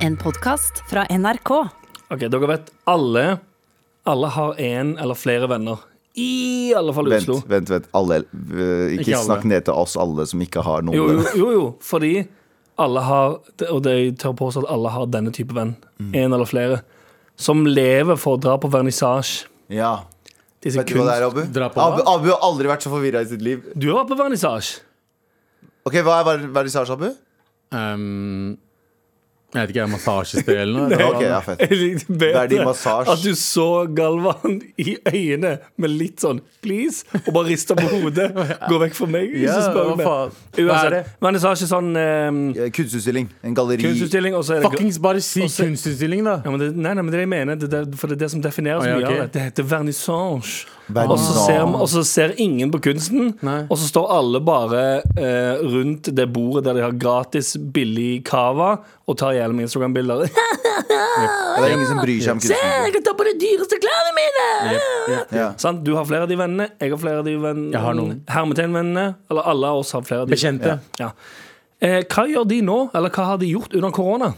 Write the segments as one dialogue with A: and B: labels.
A: En podkast fra NRK.
B: Ok, dere vet, alle Alle har en eller flere venner I alle fall i
C: Vent,
B: Oslo
C: vent, vent. Alle, eh, ikke
B: Ikke alle.
C: snakk ned til oss alle som ikke har noen
B: jo, jo,
C: venner.
B: jo, jo, fordi alle har Og det jeg tør påstå at alle har denne type venn
C: Mm.
B: En eller flere Som lever for å dra på vernissage
C: Ja.
B: Disse
C: Vet du hva det er,
B: kunst-
C: Abu?
D: Dra på
C: Abu,
D: hva?
C: Abu har aldri vært så forvirra i sitt liv.
B: Du har vært på vernissage
C: Ok, Hva er ver- vernissasje, Abu?
D: Ehm, jeg vet ikke, er massasjested eller noe?
C: Ok, ja, fett.
B: Jeg likte bedre
C: Verdimassage.
B: At du så Galvan i øynene Med litt sånn, please Og bare rister på hodet Gå vekk fra meg hvis
D: Ja,
B: du spør
D: hva
B: meg.
D: faen? Hva er det?
B: Uansett, vernissage er sånn eh,
C: Eh, Kunstutstilling. En galleri.
B: Kunstutstilling, og så er det
D: Fuckings bare si
B: Og så-
D: kunstutstilling, da.
B: Ja, men det, nei, nei, men det er det jeg mener, det, det, for det er det som definerer
D: Å,
B: så
D: ja,
B: mye
D: ok.
B: av det. Det heter vernissage.
C: Vernissage.
B: Og så ser, og så ser ingen på kunsten,
D: Nei.
B: og så står alle bare eh, rundt det bordet der de har gratis billig cava, og tar i hjel med Instagram-bilder.
C: Ja, Det er ingen som bryr seg om kunsten.
B: jeg kan ta på de dyreste klærne mine!
C: Ja.
B: Sant? Du har flere av de vennene, jeg har flere av de vennene.
D: Jeg har noen.
B: Hermetegnvennene. Eller alle av oss har flere av de.
D: Bekjente.
B: Ja. Eh, hva gjør de nå, eller hva har de gjort under korona?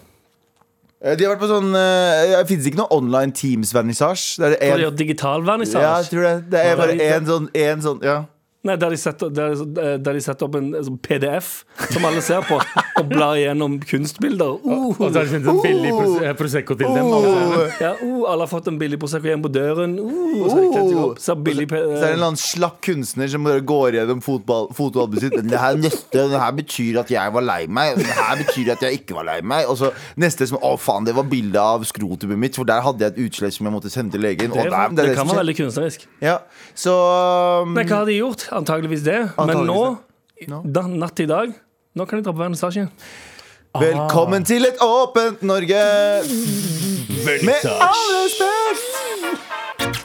C: Eh, De har vært på sånn eh, Det finnes ikke noe online Teams-vernissasje. Det er
B: Har de
C: en,
B: gjort digital vernissage?
C: ja, jeg tror det. Det er bare
B: Ja, det er-
C: en sånn, en sånn Ja.
B: Nei, der de setter, der, eh, der de setter opp en sånn PDF som alle ser på, og blar gjennom kunstbilder. Uh,
D: Og så er det sendt en billig pros- eh, Prosecco til dem. alle
C: sånn-
B: ja, uh, alle har fått en billig Prosecco hjem på døren. Uh, og så har de kledd seg opp. Ser billig pe-
C: Så er det en eller annen slapp kunstner som bare går gjennom fotball, fotoalbumet sitt. Det her, neste, det her betyr at jeg var lei meg. Det her betyr at jeg ikke var lei meg. Og så neste som Å, faen, det var bildet av skrotumet mitt, for der hadde jeg et utslett som jeg måtte sende til legen.
B: det,
C: Og der,
B: er- det kan være veldig kunstnerisk.
C: Ja, så um,
B: Nei, hva har de gjort? Antageligvis det. Men nå,
C: Antageligvis Nå?
B: da, natt til i dag, nå kan de dra på vernissasje. Ah.
C: Velkommen til et åpent Norge! Med all respekt!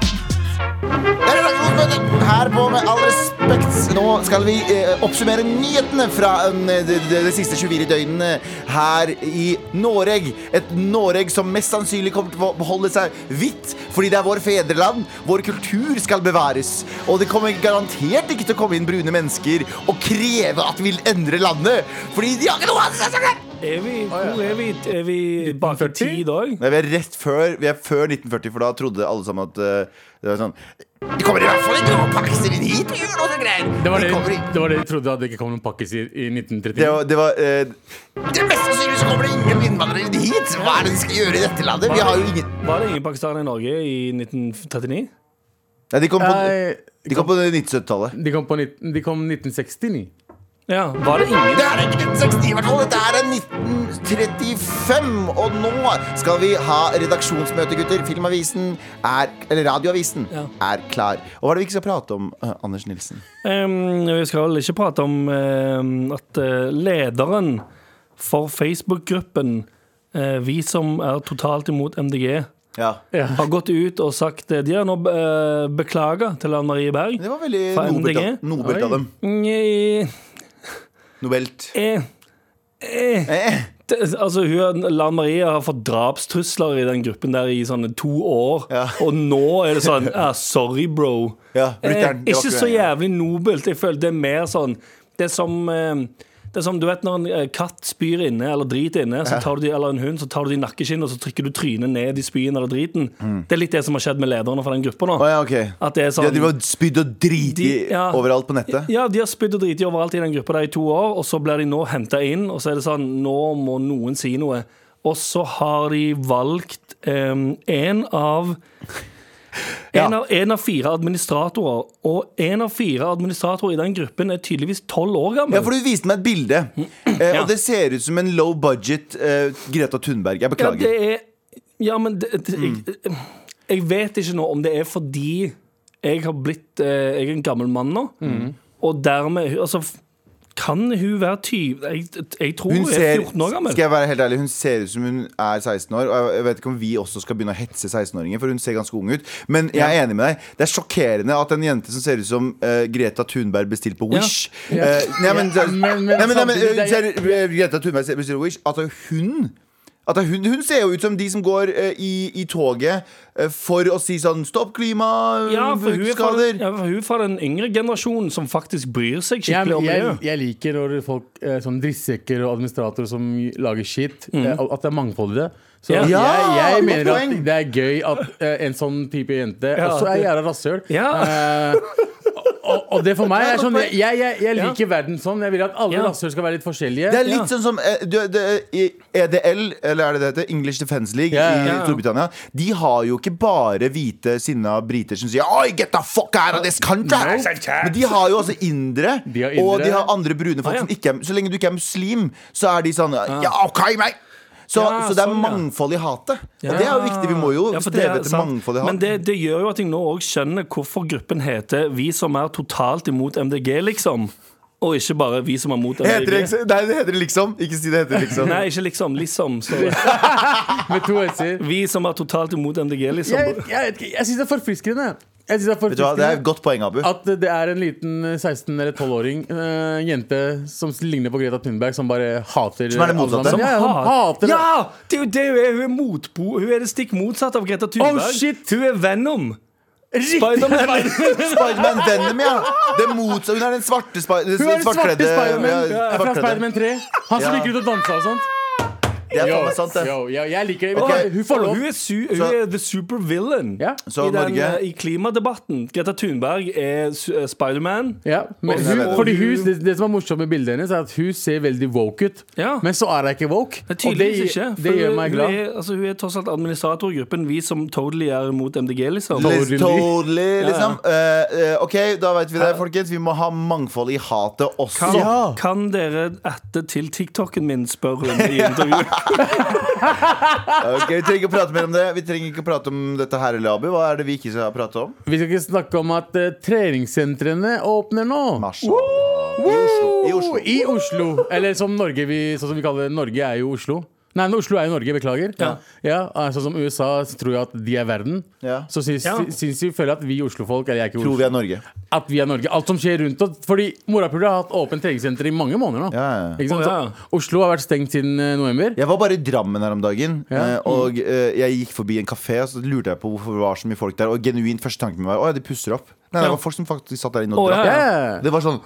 C: Det er redaksjonsmøte Her på Med all respekt. Nå skal vi eh, oppsummere nyhetene fra eh, de, de, de siste 24 døgnene her i Noreg. Et Noreg som mest sannsynlig kommer til å beholde seg hvitt fordi det er vår fedreland. Vår kultur skal bevares. Og det kommer garantert ikke til å komme inn brune mennesker og kreve at vi vil endre landet. Fordi de har ikke noe annet å gjøre!
B: Er vi, hvor er vi? Er vi bak i
D: 1940?
B: tid òg?
C: Nei, vi er rett før, vi er før 1940, for da trodde alle sammen at eh, det var sånn Det kommer i hvert fall ikke noen pakkiser inn hit på jul og sånne greier!
D: Det var det,
C: kommer i-
D: det var det de trodde, at det ikke kom noen pakkis i, i
C: Det
D: 1939.
C: var, det var eh, Det mest sannsynlig så kommer det ingen innvandrere hit! Hva er det de skal gjøre i dette landet? Vi har jo ingen
B: Var det ingen pakistanere i Norge i 1939?
C: Nei, de kom på,
D: Nei,
C: de kom på 1970-tallet.
D: De kom, på 19, de kom 1969.
B: Ja, var det ingen?
C: Det er ikke 1960 i hvert fall, dette er 1935! Og nå skal vi ha redaksjonsmøte, gutter. Filmavisen er Eller Radioavisen
B: Ja.
C: er klar. Og hva er det vi ikke skal prate om, eh, Anders Nilsen?
B: Em, vi skal vel ikke prate om em, at eh, lederen for Facebook-gruppen eh, Vi som er totalt imot MDG,
C: Ja.
B: har gått ut og sagt eh, De har nå uh, beklaga til Anne Marie Berg.
C: Det var veldig
B: Fra
C: nobelt
B: MDG?
C: av, nobelt
D: Oi.
C: av dem.
B: Nye-
C: Nobelt.
B: eh, eh.
C: Eh.
B: Det, altså, hun, Lan Marie har fått drapstrusler i den gruppen der i sånne to år.
C: Ja.
B: Og nå er det sånn ah, Sorry, bro.
C: Ja,
B: eh,
C: lytteren, det var
B: ikke
C: ikke
B: så
C: det, ja.
B: jævlig nobelt. Jeg føler det er mer sånn Det er som eh, det er som, du vet Når en eh, katt spyr inne eller driter inne, så tar du de, eller en hund, så tar du de i nakkeskinnet og så trykker du trynet ned i spyen eller driten. Det er litt det som har skjedd med lederne fra den gruppa nå.
C: Mm. Å ja, ok.
B: At det er
C: De
B: sånn
C: har drevet og spydd og driti
B: De- ja.
C: overalt på nettet?
B: ja, de har spydd og driti overalt i den gruppa der i to år, og så blir de nå henta inn, og så er det sånn Nå må noen si noe. Og så har de valgt em, en av en,
C: Ja.
B: av, en av fire administratorer, og en av fire administratorer i den gruppen er tydeligvis tolv år gammel.
C: Ja, for du viste meg et bilde. Eh,
B: Mm. Ja.
C: Og det ser ut som en low budget eh, Greta Thunberg. Jeg
B: Ja,
C: beklager. Mm.
B: det er Ja, men det, det, jeg, jeg vet ikke nå om det er fordi jeg har blitt eh, Jeg er en gammel mann nå,
C: Mm.
B: og dermed Altså, f- kan hun være 20 Jeg, jeg tror hun,
C: Hun ser,
B: er 14 år gammel.
C: skal jeg være helt ærlig, hun ser ut som hun er 16 år. Og jeg- jeg vet ikke om vi også skal begynne å hetse 16-åringer, for hun ser ganske ung ut. Men jeg er enig med deg. Det er sjokkerende at en jente som ser ut som eh, Greta Thunberg bestilt på Wish
D: Ja.
C: eh, Nei, men
D: Ja, men- men
C: nei, men- nei, men, eh,
D: samtidig, det
C: ser- eh, Greta Thunberg bestilt på Wish. Altså, hun At det er hun, hun ser jo ut som de som går eh, i, i toget eh, for å si sånn Stopp klima,
B: Ja, for hun er fra,
C: skader.
B: ja, for hun er fra den yngre generasjonen som faktisk bryr seg skikkelig
D: jeg,
B: om
D: jeg,
B: miljø.
D: jeg liker når folk, eh, sånn drittsekker og administratorer som lager shit, eh, at det er mangfold i det. Så
B: Ja.
D: jeg,
C: Ja,
D: jeg
C: godt
D: mener at
C: poeng.
D: det er gøy at eh, en sånn type jente
B: Ja.
D: også er jævla rasshøl.
B: Ja.
D: Eh, og, og det for meg er sånn Jeg, jeg, jeg liker verden sånn. Jeg vil at alle
B: Ja.
D: rasshøl skal være litt forskjellige.
C: Det er litt
B: Ja.
C: sånn som eh, du, det, i EDL, eller er det det heter? English Defense League
D: Ja, ja,
C: i
B: ja.
C: Storbritannia. De har jo ikke bare hvite, sinna briter som sier Oi, get the fuck out of this country! Men de har jo også indere,
D: De har indere.
C: og de har andre brune folk
B: Ah, ja. Ah.
C: som ikke er Så lenge du ikke er muslim, så er de sånn Ja, OK, mate! Så,
B: Ja,
C: så det er
B: sånn, ja.
C: mangfold i hatet. Og det er jo viktig. Vi må jo
B: Ja, for det er
C: streve etter
B: sant.
C: mangfold i
B: Men
C: hatet.
B: det, det gjør jo at jeg nå òg skjønner hvorfor gruppen heter 'Vi som er totalt imot MDG', liksom. Og ikke bare 'Vi som er mot
C: Heter det,
B: MDG'.
C: ikke- nei, det heter liksom. Ikke si det heter liksom.
B: Nei, ikke liksom. Liksom. står det.
D: Med to s-er.
B: Vi som er totalt imot MDG,
D: Jeg,
B: liksom.
D: jeg, jeg, jeg syns det er forfriskende. Jeg synes det er
C: Vet du hva,
D: forfriskende
C: Det er et godt poeng, Abu.
D: At det er en liten 16- eller 12-åring eh, jente som ligner på Greta Thunberg, som bare hater
C: Som er det motsatte.
D: alle sammen.
C: Som
D: Ja, ja, hun hater det.
B: ja! Det er jo det hun er. Hun er, motbo, hun er det stikk motsatte av Greta Thunberg.
D: Oh, shit!
B: Hun er Venom.
D: Riktig!
B: Spiderman.
C: Spiderman Venom, ja. Det motsatte. Hun er den svarte spi- den
D: Hun er den svarte
C: svartkledde-
D: Spiderman
C: ja,
D: ja, fra
C: svartkledde.
D: Spiderman 3. Han som
C: Ja.
D: gikk ut og dansa og sånt.
C: Det er
D: Yo,
C: faen meg sant, det.
D: yo, yo, jeg liker det. Vet du
B: Og-
D: hva, Hun får
B: og
D: lov.
B: hun er, su hun
C: Så-
B: er the supervillain
D: Ja.
C: Så
B: i, den,
C: Norge
B: eh, i klimadebatten. Greta Thunberg er su- eh, Spiderman.
D: Ja, men
B: Og-
D: hun,
C: og-
D: fordi hun, det, det som er morsomt med bildet hennes, er at hun ser veldig woke ut.
B: Ja.
D: Men så er hun ikke woke.
B: Det er
D: Og det,
B: tydeligvis ikke. for
D: det gjør
B: hun-
D: meg
B: Hun
D: glad.
B: er, altså, hun er tross alt administrator i gruppen vi som totally er mot MDG, liksom.
D: Litt-
C: Liz Totally, liksom. Eh, eh, OK, da vet vi det, folkens. Vi må ha mangfold i hatet
B: Kan,
C: også.
B: kan dere atte til TikToken min, spør hun i intervjuet.
C: Ok, vi trenger ikke å prate mer om det. Vi trenger ikke å prate om dette her, eller, Abu. Hva er det vi ikke skal prate om?
D: Vi skal ikke snakke om at eh, treningssentrene åpner nå. Oh,
C: Mashallah. I Oslo. I Oslo.
D: I Oslo. Eller som Norge vi, sånn som vi kaller det. Norge er jo Oslo. Nei, men Oslo er jo Norge, beklager.
B: Ja.
D: eh, Sånn som USA så tror jeg at de er verden.
C: Ja.
D: Så syns,
B: Ja.
D: syns vi føler at vi Oslo-folk Eller jeg er ikke
C: Tror
D: Oslo,
C: vi er Norge.
D: at vi er Norge. Alt som skjer rundt oss. Fordi Morapuler har hatt åpent treningssenter i mange måneder nå.
C: Ja, ja, ja.
D: Ikke sant?
B: Å, ja.
D: Så Oslo har vært stengt siden eh, november.
C: Jeg var bare i Drammen her om dagen,
D: Ja.
C: eh, og eh, jeg gikk forbi en kafé, og så lurte jeg på hvorfor det var så mye folk der. Og genuint første tanken min var å ja, de pusser opp. Nei, det
B: Ja.
C: var folk som faktisk satt der inne
B: Å,
C: og
B: ja,
C: drakk.
B: ja.
D: Yeah.
C: Det var sånn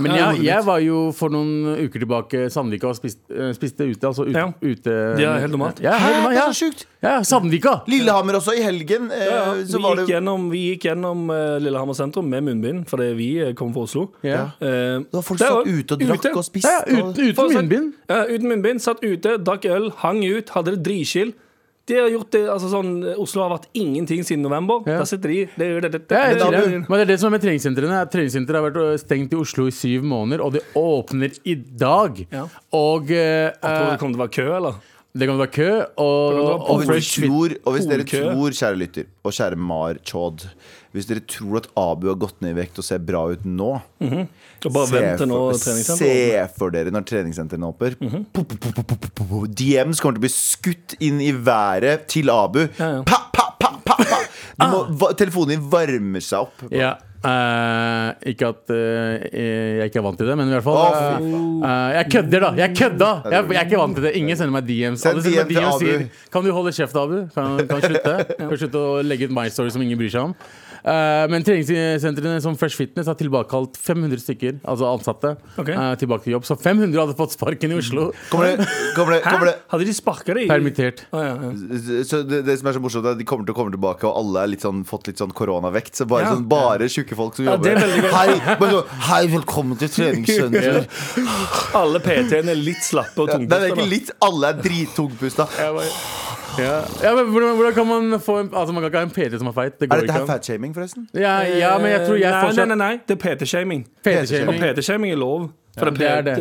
D: Men
B: Ja,
D: jeg,
B: hodet
D: jeg var jo for noen uker tilbake i Sandvika og spiste, eh, spiste ute. Altså ut,
B: Ja.
D: ute
B: De er helt normalt.
D: Ja, helt normalt,
C: det
D: ja.
C: er så sjukt!
D: ja, Sandvika!
C: Lillehammer også, i helgen. eh,
B: Ja,
C: så
B: vi,
C: var
B: gikk
C: det
B: gjennom, vi gikk gjennom eh, Lillehammer sentrum med munnbind, fordi vi eh, kommer fra Oslo.
D: Ja.
B: Eh,
C: Det var folk
B: der
C: som
B: var-
C: satt ute og drakk
B: ute.
C: og spiste.
D: Ja, ja,
C: og-
D: uten, uten
B: Fortsett.
D: munnbind.
B: Ja, uten munnbind, satt ute, drakk øl, hang ut, hadde det dritskill. De har gjort det, altså sånn, Oslo har vært ingenting siden november.
D: Ja.
B: Der sitter de. Det, det, det,
D: Ja, jeg
B: det,
D: sier
B: det,
D: det.
B: det.
D: Men det er det som er med treningssentrene. er at Treningssenteret har vært øh, stengt i Oslo i syv måneder, og det åpner i dag.
B: Ja.
D: Og eh,
B: Tror du
D: eh,
B: det kommer til å være kø, eller?
D: det kan være kø, og,
B: være
D: og,
C: Og hvis,
D: fresh
C: du
D: fit.
C: tror, og hvis dere
B: Hornkø.
C: tror, kjære lytter, og kjære Mar Chaud Hvis dere tror at Abu har gått ned i vekt og ser bra ut nå,
B: Og bare
C: se,
B: vent til nå
C: for,
B: treningssenteret. Mhm.
C: se for dere når treningssentrene hopper. Pop, pop, pop, pop, pop, pop. DMs kommer til å bli skutt inn i været til Abu.
B: Ja, Ah. ja.
C: Pa, pa, pa, pa, pa. Du må, va, telefonen din varmer seg opp.
D: Ja. eh, ikke at eh, jeg ikke er vant til det, men i hvert fall
C: Å,
D: eh,
C: fy
D: eh, Jeg kødder, da! Jeg kødda! Jeg, jeg er ikke vant til det. Ingen sender meg DMs.
C: Send
D: Alle sender meg
C: DM til
D: DMs og
C: Abu.
D: sier Kan du holde kjeft, Abu? Kan kan du slutte? Kan du slutte å legge ut my story som ingen bryr seg om? Eh, men treningssentrene som Fresh Fitness har tilbakekalt 500 stykker, altså ansatte,
B: Ok.
D: eh, tilbake til jobb. Så 500 hadde fått sparken i Oslo.
C: Kommer det, kommer det, kommer det
B: Hadde de sparka det i
D: Permittert.
B: Å, ja, ja.
C: så det, det som er så morsomt er at De kommer til å komme tilbake, og alle har litt sånn, fått litt sånn koronavekt. Så bare,
B: Ja.
C: sånn, bare tjukke folk som
B: Ja, det
C: jobber.
B: er veldig gøy.
C: hei, bare sånn, hei, velkommen til treningssenter.
B: Alle PT-ene er litt slappe og
C: Nei, det er
B: tungpusta.
C: ikke
B: da.
C: litt, alle er drittungpusta.
D: Jeg bare- Ja. ja, men hvordan, hvordan kan man få en Altså, man kan ikke ha en PT som er feit. Det går
C: Er dette her
D: ikke an.
C: fatshaming, forresten?
D: Ja, ja, men jeg tror jeg
B: Eh, nei, nei,
D: fortsatt
B: nei, nei, det er PT-shaming. Og
D: PT-shaming.
B: PT-shaming er lov. For
D: det er det.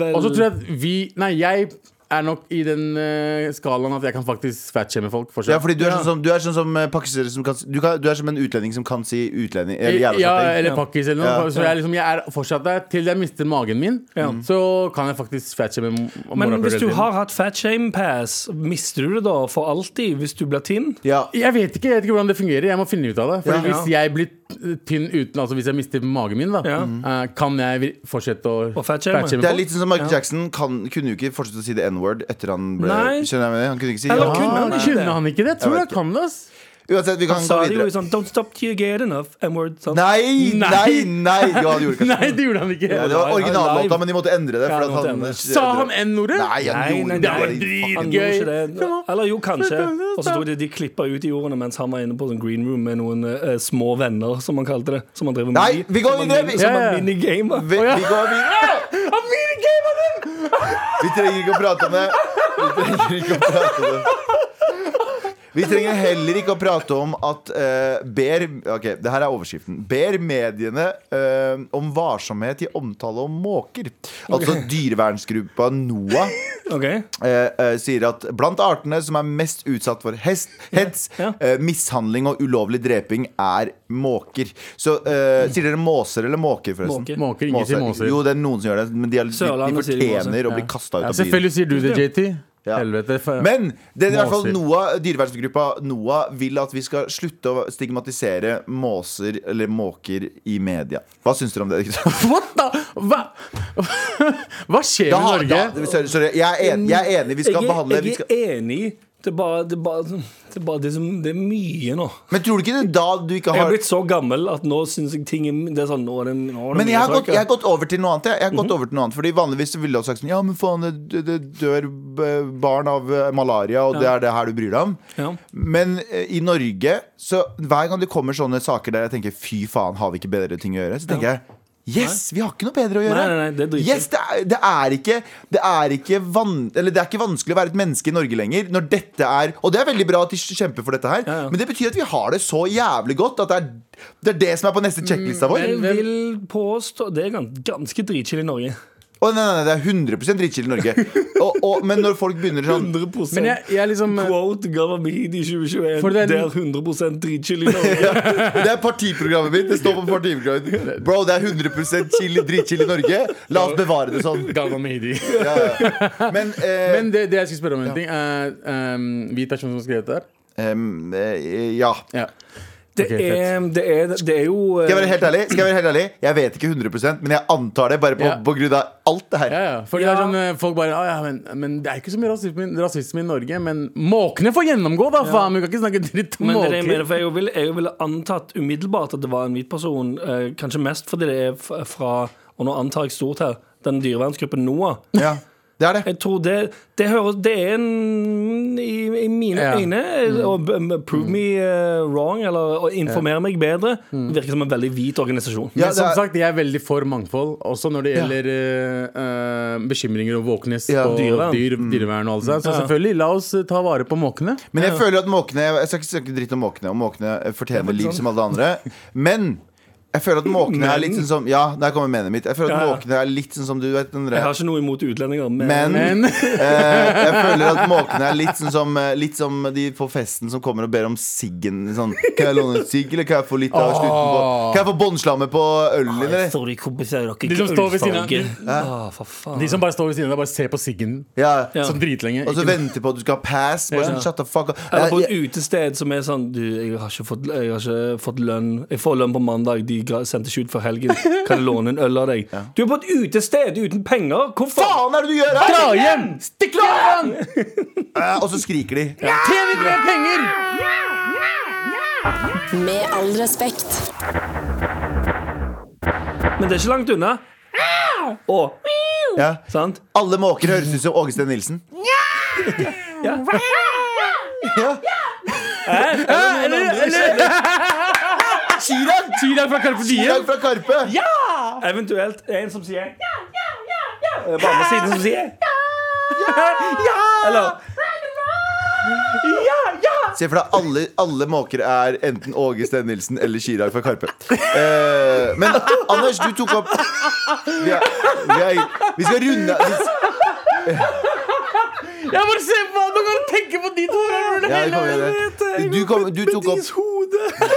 B: vel-
D: Og så tror jeg at vi Nei, jeg er nok i den eh, skalaen at jeg kan faktisk fatshame folk.
C: Ja,
D: Fortsatt.
C: fordi du er sånn som, du er sånn som eh, pakistanere som kan, si- du kan Du er som en utlending som kan si utlending eller jævla
D: ja,
C: kjapping.
D: eller pakkis eller noe.
C: Ja.
D: Så jeg, liksom, jeg er fortsatt der til jeg mister magen min.
B: Ja.
D: Så kan jeg faktisk fatshame mo-
B: Men
D: morapuler
B: hvis du
D: hele tiden.
B: har hatt fatshame pass, mister du det da for alltid hvis du blir tynn?
C: Ja.
D: jeg vet, ikke, jeg vet ikke hvordan det fungerer. Jeg må finne ut av det. Fordi
B: Ja.
D: Hvis jeg blir t- tynn uten Altså hvis jeg mister magen min, da
B: Ja.
D: eh, kan jeg vir- fortsette å
B: fatshame.
D: fatshame
C: Det er
D: folk?
C: litt sånn som Michael Jackson kan, kunne jo ikke fortsette å si det n n-word etter han ble
B: Nei.
C: Skjønner jeg med det? Han kunne ikke si
B: Eller
C: ja.
B: kunne han
D: Ah,
B: ikke
D: kunne
B: det?
D: han ikke det? Jeg tror jeg kan det, ass.
C: Uansett, vi kan
B: Han
C: gå
B: sa det jo
C: videre.
B: i sånn Don't stop till you get enough M-word. Sånn.
C: Nei,
B: Nei.
C: nei, nei! Jo, han gjorde kanskje
D: Nei, det gjorde han ikke.
C: ja, Det var
B: Nei,
C: originallåta,
B: live.
C: men de måtte endre
B: Ja,
C: det.
B: de
C: For at
B: måtte
C: han,
B: endre det.
D: Sa han N-ordet?
C: Nei, han
B: Nei,
C: gjorde
B: nei,
C: det.
B: det var
C: Fuck.
B: Han
D: Gøy.
B: gjorde ikke det.
D: Kom on.
B: Eller jo, kanskje. Og så tok de, de klippa ut i ordene mens han var inne på sånn green room med noen eh, små venner, som han kalte det. Som han drev med
C: Nei,
B: mini-
C: vi går
B: som han
C: videre,
B: mini-
C: vi-
B: Som
D: Ja, ja.
B: han minigama.
C: Vi, vi går videre!
D: Han minigama den!
C: Vi trenger ikke å prate om det. Vi trenger ikke å prate om det. Vi trenger heller ikke å prate om at eh, ber Ok, det her er overskriften. Ber mediene eh, om varsomhet i omtale om måker. Altså dyrevernsgruppa NOAH
B: Ok,
C: eh, eh, sier at blant artene som er mest utsatt for hest, hets,
B: Ja.
C: eh, mishandling og ulovlig dreping, er måker. Så eh, sier dere måser eller måker, forresten?
B: Måker.
D: Måker, ingen sier måser.
C: Jo, det er noen som gjør det, men de, er, de, de
B: Sørlandet sier de
C: fortjener
D: måser,
C: å
D: ja.
C: bli kasta ut av
D: Ja,
C: byen.
D: selvfølgelig sier du det, JT.
C: Ja.
D: Helvete. fa-
C: Men det er i hvert fall
D: Måser.
C: NOAH, dyrevernsgruppa NOAH vil at vi skal slutte å stigmatisere måser eller måker i media. Hva syns dere om det?
D: What the Hva, Hva skjer
C: Da,
D: med
C: har-
D: Norge?
C: da, sorry, sorry, jeg, er enig, jeg er enig. Vi skal
B: jeg, er-
C: behandle vi
B: Jeg
C: skal,
B: er enig. Det er bare det, er bare, det, er bare det, som, det er mye nå.
C: Men tror du ikke det er da du ikke
B: Jeg
C: har
B: er blitt så gammel at nå syns jeg ting er, det er sånn, nå er det, nå er det
C: men
B: mye
C: jeg har, gått,
B: saker.
C: jeg har gått over til noe annet. Jeg, jeg har
B: Mhm.
C: gått over til noe annet Fordi Vanligvis så ville jeg også sagt sånn Ja, men faen, det, det dør b- barn av eh, malaria, og det er det her du bryr deg om.
B: Ja.
C: Men eh, i Norge, så hver gang det kommer sånne saker der jeg tenker fy faen, har vi ikke bedre ting å gjøre, så tenker jeg Yes! Vi har ikke noe bedre å gjøre.
B: Nei, nei, nei, det er dritfint.
C: yes, det er, det er ikke, det er ikke, van, eller det er ikke vanskelig å være et menneske i Norge lenger. Når dette er Og det er veldig bra at de kjemper for dette her,
B: Ja, ja.
C: men det betyr at vi har det så jævlig godt at det er det, er det som er på
B: Mm,
C: neste sjekklista vår.
B: Jeg
D: Hvem-
B: vil påstå Det er gans- ganske dritchill i Norge.
C: Å, nei, nei, nei, det er 100 dritkilde i Norge. Og, og, men når folk begynner sånn
B: 100
D: Men jeg, jeg liksom
B: Quote Gavamid i 2021.
D: For den-
B: det er 100 dritchill i Norge.
C: Det er partiprogrammet mitt. Det står på partiprogrammet mitt. Bro, det er 100 chill, dritkilde i Norge. La oss bevare det sånn.
D: Gaga Mehidi.
C: Ja, ja. Men, eh,
D: Men det, det jeg skulle spørre om en ting er ehm, Hvit person som har skrevet det her.
C: em, eh, Ja.
D: Ja.
B: Det,
D: Ok, fett.
B: er, det, er, det er jo eh,
C: Skal jeg være helt ærlig? Skal jeg, være helt ærlig? jeg vet ikke 100 men jeg antar det bare på,
D: Ja.
C: på grunn av alt det her.
D: Ja, ja. Fordi det er sånn, eh, folk bare «Ah, ja, men, men det er ikke så mye rasisme, rasisme i Norge, men måkene får gjennomgå, da! Faen, vi kan ikke snakke dritt om
B: Men det er det jeg, mener,
D: måker.
B: for jeg ville, jeg ville antatt umiddelbart at det var en hvit person, eh, kanskje mest fordi det er f- fra Og nå antar jeg stort her den dyrevernsgruppen NOAH.
C: Ja, Det er det.
B: Jeg tror det Det, hører, det er en I, i mine
D: Ja. Mm.
B: øyne og, b- m- Prove me eh, wrong, eller å informere meg bedre,
D: Mm.
B: virker som en veldig hvit organisasjon.
C: Ja,
D: Men som
C: det er-
D: sagt, jeg er veldig for mangfold, også når det gjelder eh, eh, bekymringer og våkenes
C: Ja,
D: og
B: dyrevern.
D: dyr, dyrevern Mm. og alt sånt. Så selvfølgelig, la oss eh, ta vare på måkene.
C: Men jeg føler at måkene Jeg skal ikke snakke dritt om måkene, og måkene fortjener
B: sånn.
C: liv som alle andre. Men jeg føler at måkene er litt sånn som Ja, der kommer menet mitt. Jeg føler at
B: Ja, ja.
C: måkene er litt sånn som du vet den
B: Jeg
C: der-
B: har ikke noe imot utlendinger, men,
C: Men,
D: Men-
C: eh, jeg føler at måkene er litt sånn som eh, Litt som de på festen som kommer og ber om siggen. Sånn, kan jeg låne en sigg, eller kan jeg få litt av slutten på
B: Ah.
C: Kan jeg få bånnslammet på ølen din, eller?
B: Sorry, kompiser, dere
D: De som
B: ikke
D: står ved siden av-
B: ølfarge. Ah, for faen.
D: De som bare står ved siden av deg, bare ser på siggen
C: Ja.
B: Ja.
D: sånn dritlenge.
C: Og så
D: Ikke-
C: venter på at du skal ha pass. Bare
D: Ja.
C: sånn, shut the fuck up.
B: Eller på
C: Jeg,
B: et utested som er sånn Du, jeg har ikke fått, jeg har ikke fått lønn. Jeg får lønn på mandag, de gra- sendte ikke ut før helgen. Kan jeg låne en øl av deg? Du er på et utested uten penger! Hvorfor?
C: faen er det du gjør her?!
D: Dra hjem! Stikk hjem!
C: Eh, Og så skriker de.
D: Tjen litt mer penger!
A: Med all respekt.
B: Men det er ikke langt unna. Og,
C: Ja.
B: sant?
C: Alle måker høres ut som Åge Steen Nilsen. Ja.
B: Eller,
C: Chirag!
D: Chirag fra Carpe
C: Chirag
D: Diem.
C: fra Karpe.
B: eventuelt en som sier ja, ja, ja, ja. På andre siden som sier ja, Eller
C: Se for deg alle, alle måker er enten Åge Steen Nilsen eller Chirag fra Karpe. Eh, men Anders, du tok opp Vi, er, vi, er, vi skal runde vi-
D: Jeg bare ser på han og kan tenke på de to. her,
C: ja, vi
D: hele-
C: kommer til det. du, kom, du tok opp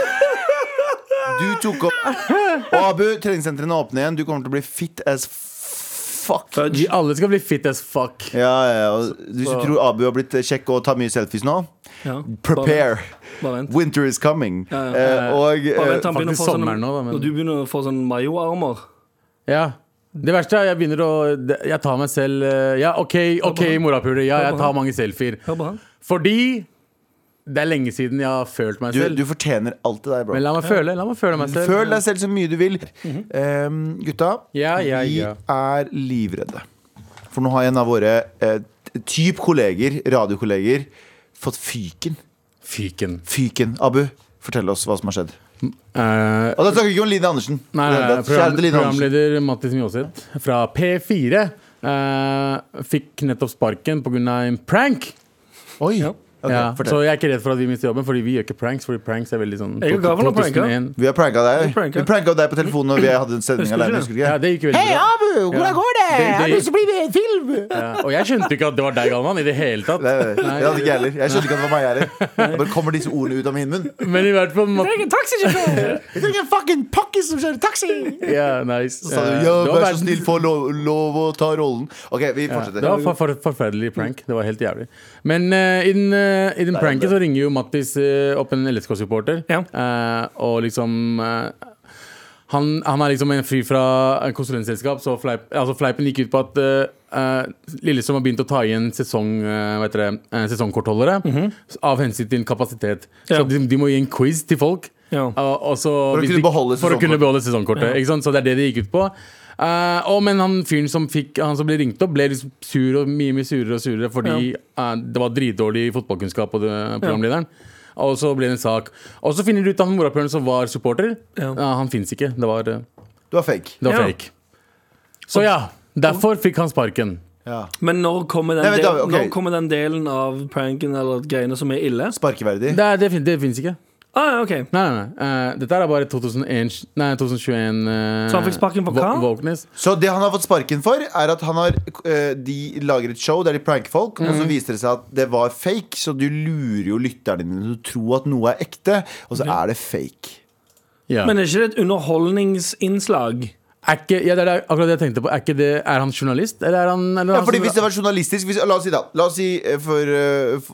C: Du tok opp Og Abu, treningssentrene er åpne igjen. Du kommer til å bli fit as fuck.
D: Vi alle skal bli fit as fuck.
C: Ja, ja, og Hvis du tror Abu har blitt eh, kjekk og tar mye selfies nå,
B: Ja,
C: prepare.
B: Bare vent.
C: Winter is coming. Eh, og
B: Bare vent,
C: eh,
B: han begynner å
D: faktisk
B: få sånn
D: sommeren nå, da, men-
B: Når du begynner å få sånn mayo-armer
D: Ja Det verste er jeg begynner å det- Jeg tar meg selv eh, Ja, OK, ok, morapuler. Ja, jeg tar mange selfier.
B: Hør på han.
D: Fordi det er lenge siden jeg har følt meg
C: Du,
D: selv.
C: du fortjener alt det der, bro.
D: Men la meg føle. La meg føle meg selv. Mhm.
C: Føl deg selv så mye du vil. Ehm, gutta,
D: Ja, ja, ja.
C: vi er livredde. For nå har en av våre eh, typ kolleger, radiokolleger, fått fyken.
D: Fyken.
C: Fyken. Abu, fortell oss hva som har skjedd.
D: Eh,
C: Og da snakker vi ikke om Line Andersen.
D: Nei, nei, nei,
C: Kjære til
D: program,
C: Line Andersen.
D: programleder Mattis Mjåseth fra P4 eh, fikk nettopp sparken pga. en prank.
C: Oi.
B: Ja.
C: Ok,
D: ja,
C: fortell.
D: så jeg er ikke redd for at vi mister jobben, Fordi vi gjør ikke pranks. Fordi pranks er veldig sånn
B: Jeg er jo gammel og pranker.
D: 2001.
C: Vi har pranka deg.
B: Vi pranka.
C: Vi pranka deg på telefonen når vi hadde en sending
B: Husker
C: alene.
B: ikke
C: Husker du
D: Ja,
C: ikke?
D: det gikk veldig bra.
C: Abu,
D: Ja. Det- det-
C: bli med i en film?
D: Ja, og jeg skjønte ikke at det var deg, Galvan, i det hele tatt.
C: Nei, nei, nei, det hadde ikke jeg heller. Jeg skjønte ikke at det var meg heller. Da bare kommer disse ordene ut av min munn.
D: Men i hvert fall Matt-
C: Jeg trenger en fucking pakkis som kjører taxi!
D: Ja, nice.
C: Så sa du
D: Eh,
C: ja,
D: det var
C: vær så
D: verdens-
C: snill, få lov, lov å ta rollen. OK, vi
D: Ja,
C: fortsetter.
D: det var for, for, forferdelig prank. Det var helt jævlig. Men eh, i den, eh, i den pranken så ringer jo Mattis eh, opp en LSK-supporter.
B: Ja.
D: Eh, og liksom eh, han, han er liksom en fyr fra eh, konsulentselskap, så fleip, altså fleipen gikk ut på at eh, eh, Lillestrøm har begynt å ta igjen sesong, eh, hva heter det, eh, sesongkortholdere av hensyn til kapasitet.
B: Mhm. Ja.
D: Så de, de må gi en quiz til folk.
B: Ja.
D: Og, og så,
C: å
D: hvis
C: kunne
D: de-
C: beholde
D: for å kunne
C: sesongkortet.
D: beholde sesongkortet. Ikke sant? Så det er det det gikk ut på. Eh, og, men han fyren som fikk Han som ble ringt opp, ble liksom sur og mye mye surere og surere fordi eh, det var dritdårlig fotballkunnskap på det, eh, programlederen. Og så ble det en sak. Og så finner du ut at han morapuleren som var supporter,
B: Ja.
D: eh, han fins ikke. Det var, eh,
C: Du er fake.
D: det var
B: Ja.
D: fake. Så ja, derfor fikk han sparken.
C: Ja.
B: Men når kommer, den
C: Nei, vent da,
B: delen,
C: ok.
B: når kommer den delen av pranken eller greiene som er ille?
C: Sparkeverdig.
D: Det, er- det, fin- det fins ikke.
B: Ah, ja, ok
D: Nei, nei, nei. Eh, dette er bare 2001, nei, 2021 eh,
B: Så han fikk sparken for hva?
D: Vå- Våknes.
C: Så det han har fått sparken for, er at han har, eh, de lager et show der de pranker folk, og
D: Mhm.
C: så viser det seg at det var fake, så du lurer jo lytterne dine til å tro at noe er ekte, og så er det fake.
D: Ja.
B: Men er ikke det et underholdningsinnslag?
D: Er ikke, ja, det er det- akkurat det jeg tenkte på. Er, ikke det, er han journalist, eller er han eller
C: Ja,
D: han
C: fordi
D: som-
C: hvis det var journalistisk hvis, La oss si da La oss si eh, for eh, f-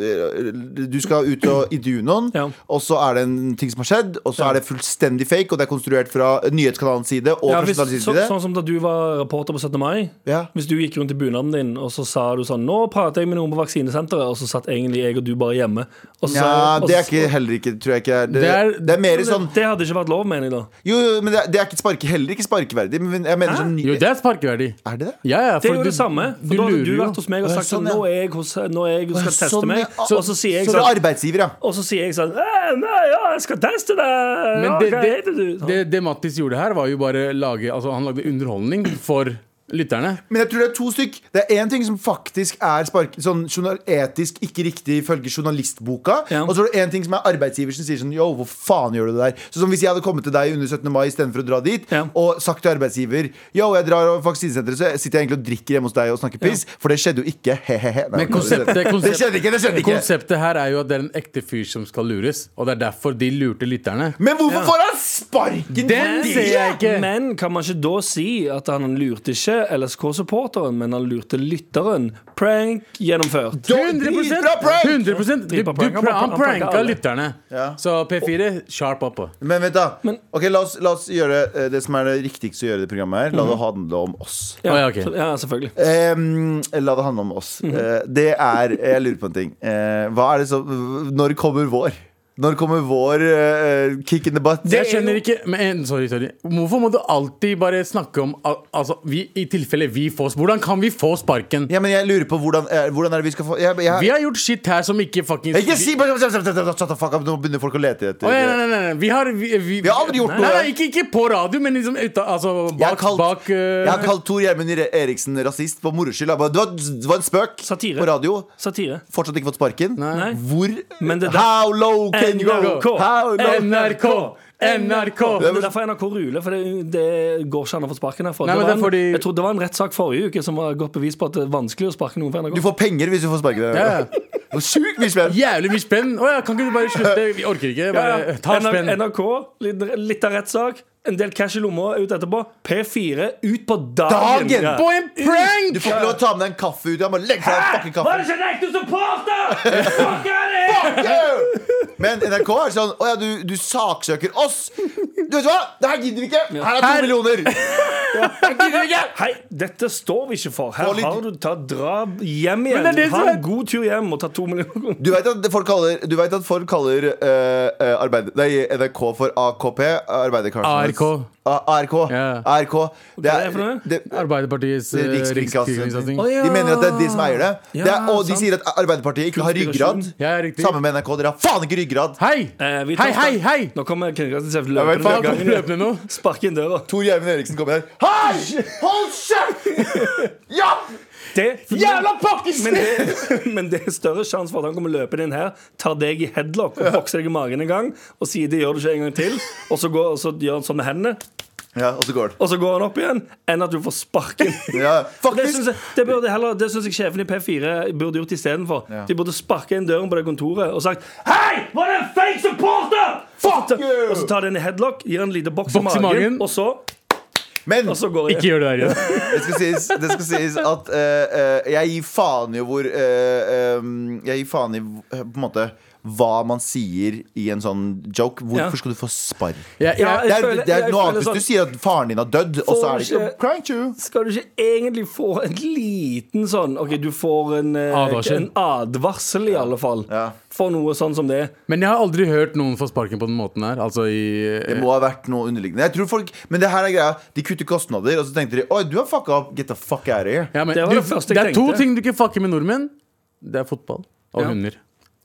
C: eh, Du skal ut og intervjue noen
B: Ja.
C: Og så er det en ting som har skjedd Og så er det fullstendig fake Og det er konstruert fra nyhetskanalens side Og
B: Ja,
C: fra
B: hvis,
C: journalistens
B: så,
C: side
B: sånn som da du var reporter på 17. mai.
C: Ja.
B: Hvis du gikk rundt i bunaden din og så sa du sånn 'Nå prater jeg med noen på vaksinesenteret', og så satt egentlig jeg og du bare hjemme. Og så,
C: Ja,
B: og
C: det er
B: så-
C: ikke, heller ikke Tror jeg ikke er Det, det,
D: Det
C: er,
D: er-
C: mer
B: det,
C: sånn
B: det hadde ikke vært lov, mener jeg da.
C: Jo, jo, men det er, det er ikke sparke, heller ikke sparkeverdig Men jeg mener sånn
D: Jo, det er sparkeverdig.
C: Er det det?
D: Ja, ja,
B: Det
D: for
B: er jo
D: du-
B: det samme. For
D: du
B: da hadde
D: lurer
B: du
D: jo.
B: vært hos meg og
C: Å, ja,
B: sagt sånn
C: sånn, ja.
B: 'Nå er jeg, hos, nå er jeg
C: Å, ja,
B: skal
C: sånn,
B: teste meg',
C: ja.
B: og så sier jeg
C: Så det er
B: sånn
C: arbeidsgiver, ja
B: og så sier jeg sånn «Eh, 'Nei, ja, jeg skal teste deg'.
D: Men
B: Ja,
D: det,
B: hva heter du? sånn.
D: det, det, det Mattis gjorde her, var jo bare lage Altså, han lagde underholdning for lytterne.
C: Men jeg tror det er to stykk. Det er én ting som faktisk er spark, sånn journal, etisk ikke riktig ifølge journalistboka.
B: Ja.
C: Og så er det én ting som er arbeidsgiver som sier sånn Yo, hvor faen gjør du det der? Så som Hvis jeg hadde kommet til deg under 17. mai istedenfor å dra dit,
B: Ja.
C: og sagt til arbeidsgiver Yo, jeg drar over vaksinesenteret, så sitter jeg egentlig og drikker hjemme hos deg og snakker piss. For det skjedde jo ikke. He-he-he. Nei,
D: Men konseptet,
C: Det skjedde ikke! det skjedde ikke
D: konseptet her er jo at det er en ekte fyr som skal lures, og det er derfor de lurte lytterne.
C: Men hvorfor får han sparken?
D: Den
C: for
D: ser
C: det?
D: jeg
B: Sånn.
D: ikke!
B: Men kan man ikke da si at han lurte ikke LSK-supporteren, men han lurte lytteren? Prank gjennomført.
D: 100
C: Dritbra prank!
D: 100 du, du,
B: Dritbra prank. Han
D: pra- Han
B: pranka
D: pranka
B: alle.
D: lytterne.
C: Ja.
D: Så P4, sharp up.
C: Men vent, da. ok, la oss, la oss gjøre eh, det som er det riktigste å gjøre i det programmet her. La
D: Mhm.
C: det handle om oss.
B: Ja,
D: Å, ja, ok.
B: så- ja, selvfølgelig.
C: Ehm, la det handle om oss.
D: Mhm.
C: Eh, det er Jeg lurer på en ting. Eh, hva er det som Når kommer vår? Når kommer vår eh, kick in the butt?
D: Jeg skjønner ikke men, eh, Sorry, sorry Hvorfor må du alltid bare snakke om al- Altså, vi, i tilfelle vi får Hvordan kan vi få sparken?
C: Ja, men jeg lurer på hvordan, eh, hvordan er det vi skal få jeg, jeg,
D: Vi har gjort shit her som ikke fucking
C: Ikke si sånn, Shut the fuck up, nå begynner folk å lete etter
D: Å, nei, nei, nei, nei. Vi har Vi, vi,
C: Vi har aldri gjort
D: nei,
C: noe.
D: Nei, nei, ikke, ikke på radio, men liksom uta, altså,
C: Jeg har
D: bak,
C: kalt,
D: bak eh,
C: jeg har kalt Tor Gjermund Eriksen rasist på moro skyld. Jeg bare, Det, var- det var en spøk
B: Satire.
C: på radio.
B: Satire.
C: Fortsatt ikke fått sparken.
B: Nei.
C: Hvor
B: Men det der-
C: How low can you
B: NRK.
C: go? How low?
D: NRK! NRK!
B: Men Det er derfor NRK ruler, for det, det går ikke an å få sparken herfra.
D: Nei,
B: det
D: men
B: var en,
D: det er fordi-
B: Jeg trodde det var en rettssak forrige uke som var godt bevis på at det er vanskelig å sparke noen fra
C: Du
B: NRK.
C: får penger hvis du får sparken.
D: Ja, ja.
C: Hvor Sjukt mye spenn.
D: Jævlig mye spenn. Å ja, kan ikke du bare slutte? Vi orker ikke. Bare, eh,
B: Ja, ja.
D: Ta spenn.
B: N- NRK, litt, litt av rettssak, en del cash i lomma ut etterpå. P4 ut på dagen!
C: Dagen!
B: Ja.
D: På en prank!
C: Du får ikke lov å ta med deg en kaffe ut. Jeg må legge deg en fucking kaffe
B: Var det ikke en ekte supporter?! Fuck er det?
C: Yeah! Men NRK er sånn Å ja, du, du saksøker oss. Du vet hva? Det her gidder vi ikke. Her er to
D: Her-
C: millioner.
D: Jeg gidder ikke!
B: Hei, dette står vi ikke for. Her
C: Få litt-
B: har du ta, dra hjem
D: Men det er
B: igjen.
D: det
B: Ha
D: som er-
B: en god tur hjem og ta to millioner kroner.
C: Du vet at folk kaller, du vet at folk kaller eh, eh, arbeid, nei, NRK for AKP? Arbeiderkarsen.
D: ARK.
C: A- ARK.
D: Ja.
C: ARK. Det
B: er det for noe?
C: det,
D: Arbeiderpartiets eh,
C: Rikskringkastingen.
D: rikskringkasting.
B: Å, ja.
C: De mener at det er de som eier det.
B: Ja,
C: det er, og de
B: sant.
C: sier at Arbeiderpartiet ikke har ryggrad.
B: Konspirasjon.
D: Ja, riktig.
C: Sammen med NRK. Dere har faen ikke ryggrad!
D: Hei!
B: Eh, vi
D: hei,
B: tar-
D: hei, hei!
B: Nå kommer kringkastingssjefen
C: Jeg vet
B: løpende.
C: faen,
B: i gangen.
D: kommer løpende nå.
B: Spark inn døra.
C: Tor Gjermund Eriksen kommer her. Hei! Hold kjeft! Ja!
B: Det,
D: Jævla
B: men,
D: pakkesvin!
B: det, men det er større sjanse for at han kommer løpende inn her, tar deg i headlock og bokser deg i magen en gang og sier det gjør du ikke en gang til, og så, går, og så gjør han sånn med hendene,
C: Ja, og så går det.
B: og så går han opp igjen, enn at du får sparken.
C: Ja,
B: Det syns
C: faktisk.
B: jeg, det burde heller- det syns jeg sjefen i P4 burde gjort istedenfor.
C: Ja.
B: De burde sparka inn døren på det kontoret og sagt Hei, var det en fake supporter?!
C: Fuck
B: Og så-
C: you!
B: Og så tar de en headlock, gir en liten boks, i
D: Boks i
B: magen,
D: magen.
B: og så,
C: Men
B: og så går
D: Ikke gjør det der igjen.
C: det skal sies, det skal sies at eh, eh, jeg gir faen i hvor eh, em, Jeg gir faen i eh, på en måte hva man sier i en sånn joke.
B: Ja.
C: Hvorfor skal du få spark?
D: Jeg,
B: Ja,
D: jeg,
C: Det er,
B: føler-
C: det er
B: jeg
C: noe
B: føler
C: annet hvis
B: sånn-
C: du sier at faren din har dødd, og så er det
B: Får
C: ikke Crank you.
B: skal du ikke egentlig få en liten sånn OK, du får en, eh,
D: Advarsel.
B: en advarsel, i alle fall.
C: Ja.
B: For noe sånn som det.
D: men jeg har aldri hørt noen få sparken på den måten her. Altså i
C: Det må ha vært noe underliggende. Jeg tror folk, men det her er greia. De kutter kostnader, og så tenkte de Oi, du har fucka opp. Get the fuck out of here.
D: eh, ja, men,
B: Det var
D: du,
B: det første jeg
D: det er to
B: tenkte.
D: ting du ikke fucker med nordmenn. Det er fotball og
B: Ja.
D: hunder.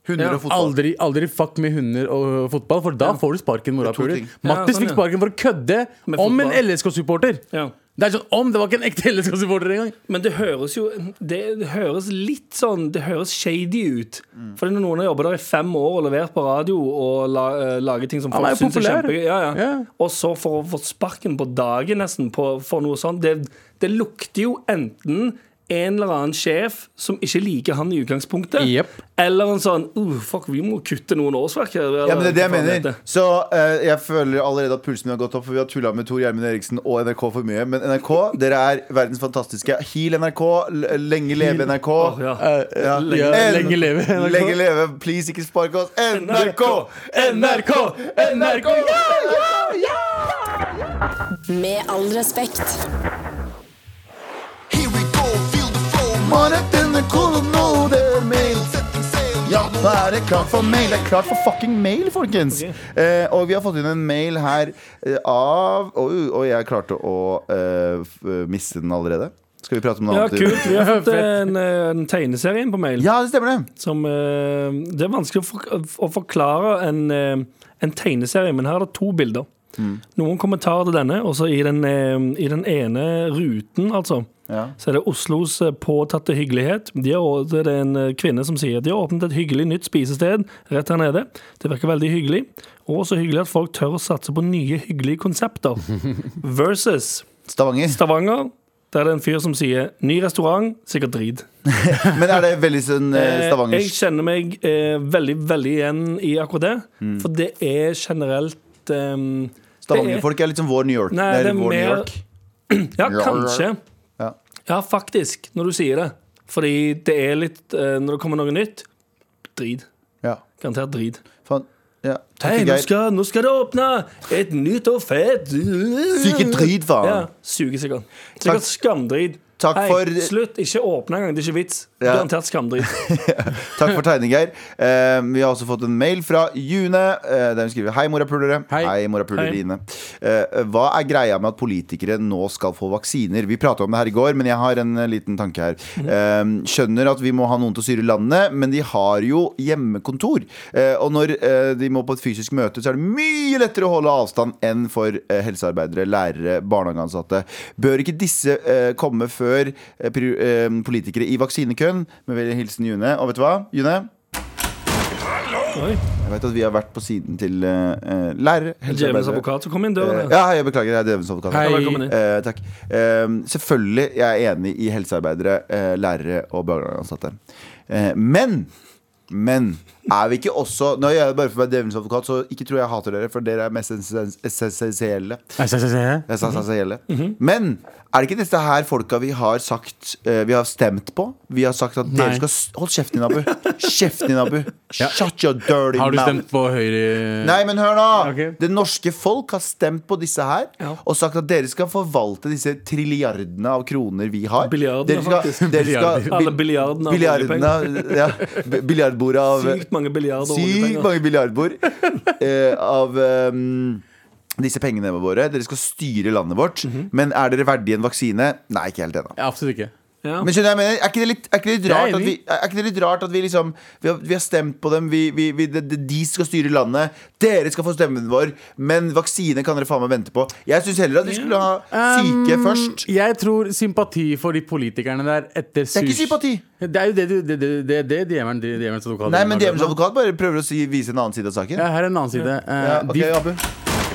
C: Hunder og fotball.
D: Aldri, aldri fuck med hunder og fotball, for da får du sparken.
C: to
D: morapuler.
C: ting.
D: Mattis
B: Ja, sånn,
D: fikk
B: ja.
D: sparken for å kødde
B: Med
D: om en
B: fotball.
D: LSK-supporter.
B: Ja.
D: Det er sånn om det var ikke en ekte LSK-supporter engang.
B: Men det høres jo Det høres litt sånn Det høres shady ut. For når noen har jobbet der i fem år og levert på radio og la, eh, lager ting som
D: Han
B: folk
D: er jo
B: syns er
D: populær.
B: kjempe... Ja, ja.
D: Ja.
B: Og så for å få sparken på dagen nesten på, for noe sånt det, det lukter jo enten en eller annen sjef som ikke liker han i utgangspunktet,
D: Jep.
B: eller en sånn uh, Fuck, vi må kutte noen årsverk her. eller
C: Ja, men det er det jeg
B: hva faen det heter.
C: mener. Så eh, jeg føler allerede at pulsen min har gått opp, for vi har tulla med Tor Gjermund Eriksen og NRK for mye. Men NRK, dere er verdens fantastiske. Heal NRK. l- Lenge leve NRK. Eh,
B: Åh, ja.
C: Ja.
D: Lenge-
C: N-
D: lenge leve NRK.
C: Lenge leve, please ikke spark oss. NRK!
D: NRK! NRK!
A: Med all respekt.
E: Here we go, feel the flow.
C: Marit NRK nå, det er mail.
E: Setting sail.
C: Ja, nå er det klart for mail. Det er klart for fucking mail, folkens. Eh, og vi har fått inn en mail her eh, av Og, og jeg klarte å eh, f- miste den allerede. Skal vi prate om noe
B: Ja,
C: annet?
B: kult. Vi har fått en, eh, en tegneserie inn på mail.
C: Ja, det stemmer det.
B: som eh, Det er vanskelig å, for, å forklare en, eh, en tegneserie, men her er det to bilder. Noen kommentarer til denne, og så i, den, eh, i den ene ruten, altså.
C: Ja.
B: Så er det Oslos eh, påtatte hyggelighet. De har, å- det er en eh, kvinne som sier de har åpnet et hyggelig nytt spisested rett her nede. Det virker veldig hyggelig. Og så hyggelig at folk tør å satse på nye, hyggelige konsepter. Versus
C: Stavanger.
B: Stavanger. Der er det en fyr som sier 'ny restaurant, sikkert drit'.
C: Men er det veldig sånn eh,
B: Eh, Jeg
C: Stavangers
B: kjenner meg eh, veldig, veldig igjen i akkurat det.
C: Mm.
B: For det er generelt ehm,
C: Stavanger-folk er litt som vår New York.
B: Nei,
C: Nei,
B: det er
C: vår New
B: mer-
C: York.
B: Ja,
C: Ja.
B: kanskje.
C: Ja.
B: Ja, faktisk, når du sier det. Fordi det er litt eh, Når det kommer noe nytt drit.
C: Ja.
B: Garantert drit.
C: Faen. Ja.
B: Hei,
C: Takk,
B: nå
C: Geir.
B: skal, nå skal det åpne et nytt og fett
C: Syke drit, faen.
B: Ja, Suger sikkert. Sikkert skamdrit.
C: Takk
B: Hei,
C: for-
B: slutt. Ikke åpne engang. Det er ikke vits.
C: Ja.
B: Garantert skamdrit.
C: Takk for tegning, Geir. Eh, vi har også fått en mail fra June, eh, der hun skriver Hei, morapulere.
D: Hei.
C: morapulerine. Eh, hva er greia med at politikere nå skal få vaksiner? Vi prata om det her i går, men jeg har en eh, liten tanke her. Eh, skjønner at vi må ha noen til å styre landet, men de har jo hjemmekontor. Eh, og når eh, de må på et fysisk møte, så er det mye lettere å holde avstand enn for eh, helsearbeidere, lærere, barnehageansatte. Bør ikke disse eh, komme før eh, pri- eh, politikere i vaksinekøen? Med vennlig hilsen June. Og vet du hva, June?
B: Oi.
C: Jeg vet at vi har vært på siden til eh, eh, lærere,
B: Djevelens
C: helsearbeidere.
B: advokat som kom inn
C: Eh,
B: døren.
C: ja, hei, jeg beklager, jeg er djevelens advokat.
D: Hei.
B: Velkommen inn.
C: Eh, takk. Eh, selvfølgelig, jeg er enig i helsearbeidere, eh, lærere og barnehageansatte. Eh, men Men er vi ikke også Nå gjør jeg det bare for å være djevelens advokat, så ikke tror jeg hater dere, for dere er mest essens- essensielle. eh,
D: Mhm.
C: Essensielle. Men er det ikke dette her folka vi har sagt eh, Vi har stemt på? Vi har sagt at dere
D: Nei.
C: skal s- Hold kjeften din, Abu. Kjeften din, Abu. Shut your dirty
D: Har du
C: mouth.
D: stemt på Høyre?
C: Nei, men hør nå!
D: Ok.
C: Det norske folk har stemt på disse her og sagt at dere skal forvalte disse trilliardene av kroner vi har.
B: Billiardene,
C: dere skal,
B: faktisk.
C: Dere skal,
D: Billiarder.
B: Alle billiardene av
C: billiardene ja, b- Biljardbordet av
B: Sykt mange billiarder og
C: Sykt
B: oljepenger.
C: mange biljardbord eh, av ehm, disse pengene våre. Dere skal styre landet vårt.
B: Mhm.
C: Men er dere verdige en vaksine? Nei, ikke helt ennå.
D: Ja, Absolutt ikke.
B: Ja.
C: Men skjønner jeg, hva jeg mener, er ikke det litt, er ikke det litt
D: Jeg er
C: rart at vi,
D: enig.
C: er ikke det litt rart at vi liksom Vi har, vi har stemt på dem, vi, vi, vi, de, de- de skal styre landet, dere skal få stemmen vår, men vaksine kan dere faen meg vente på. Jeg syns heller at vi skulle ha
D: Um,
C: syke først.
D: Jeg tror sympati for de politikerne der etter
C: Det er ikke sympati!
D: Det er jo det du det, det, det, det djevelen, det, djevelens advokat
C: Nei, men Djevelens advokat bare prøver å si, vise en annen side av saken.
D: ja, Her er en annen side. Eh,
C: Ja, ok, Abu.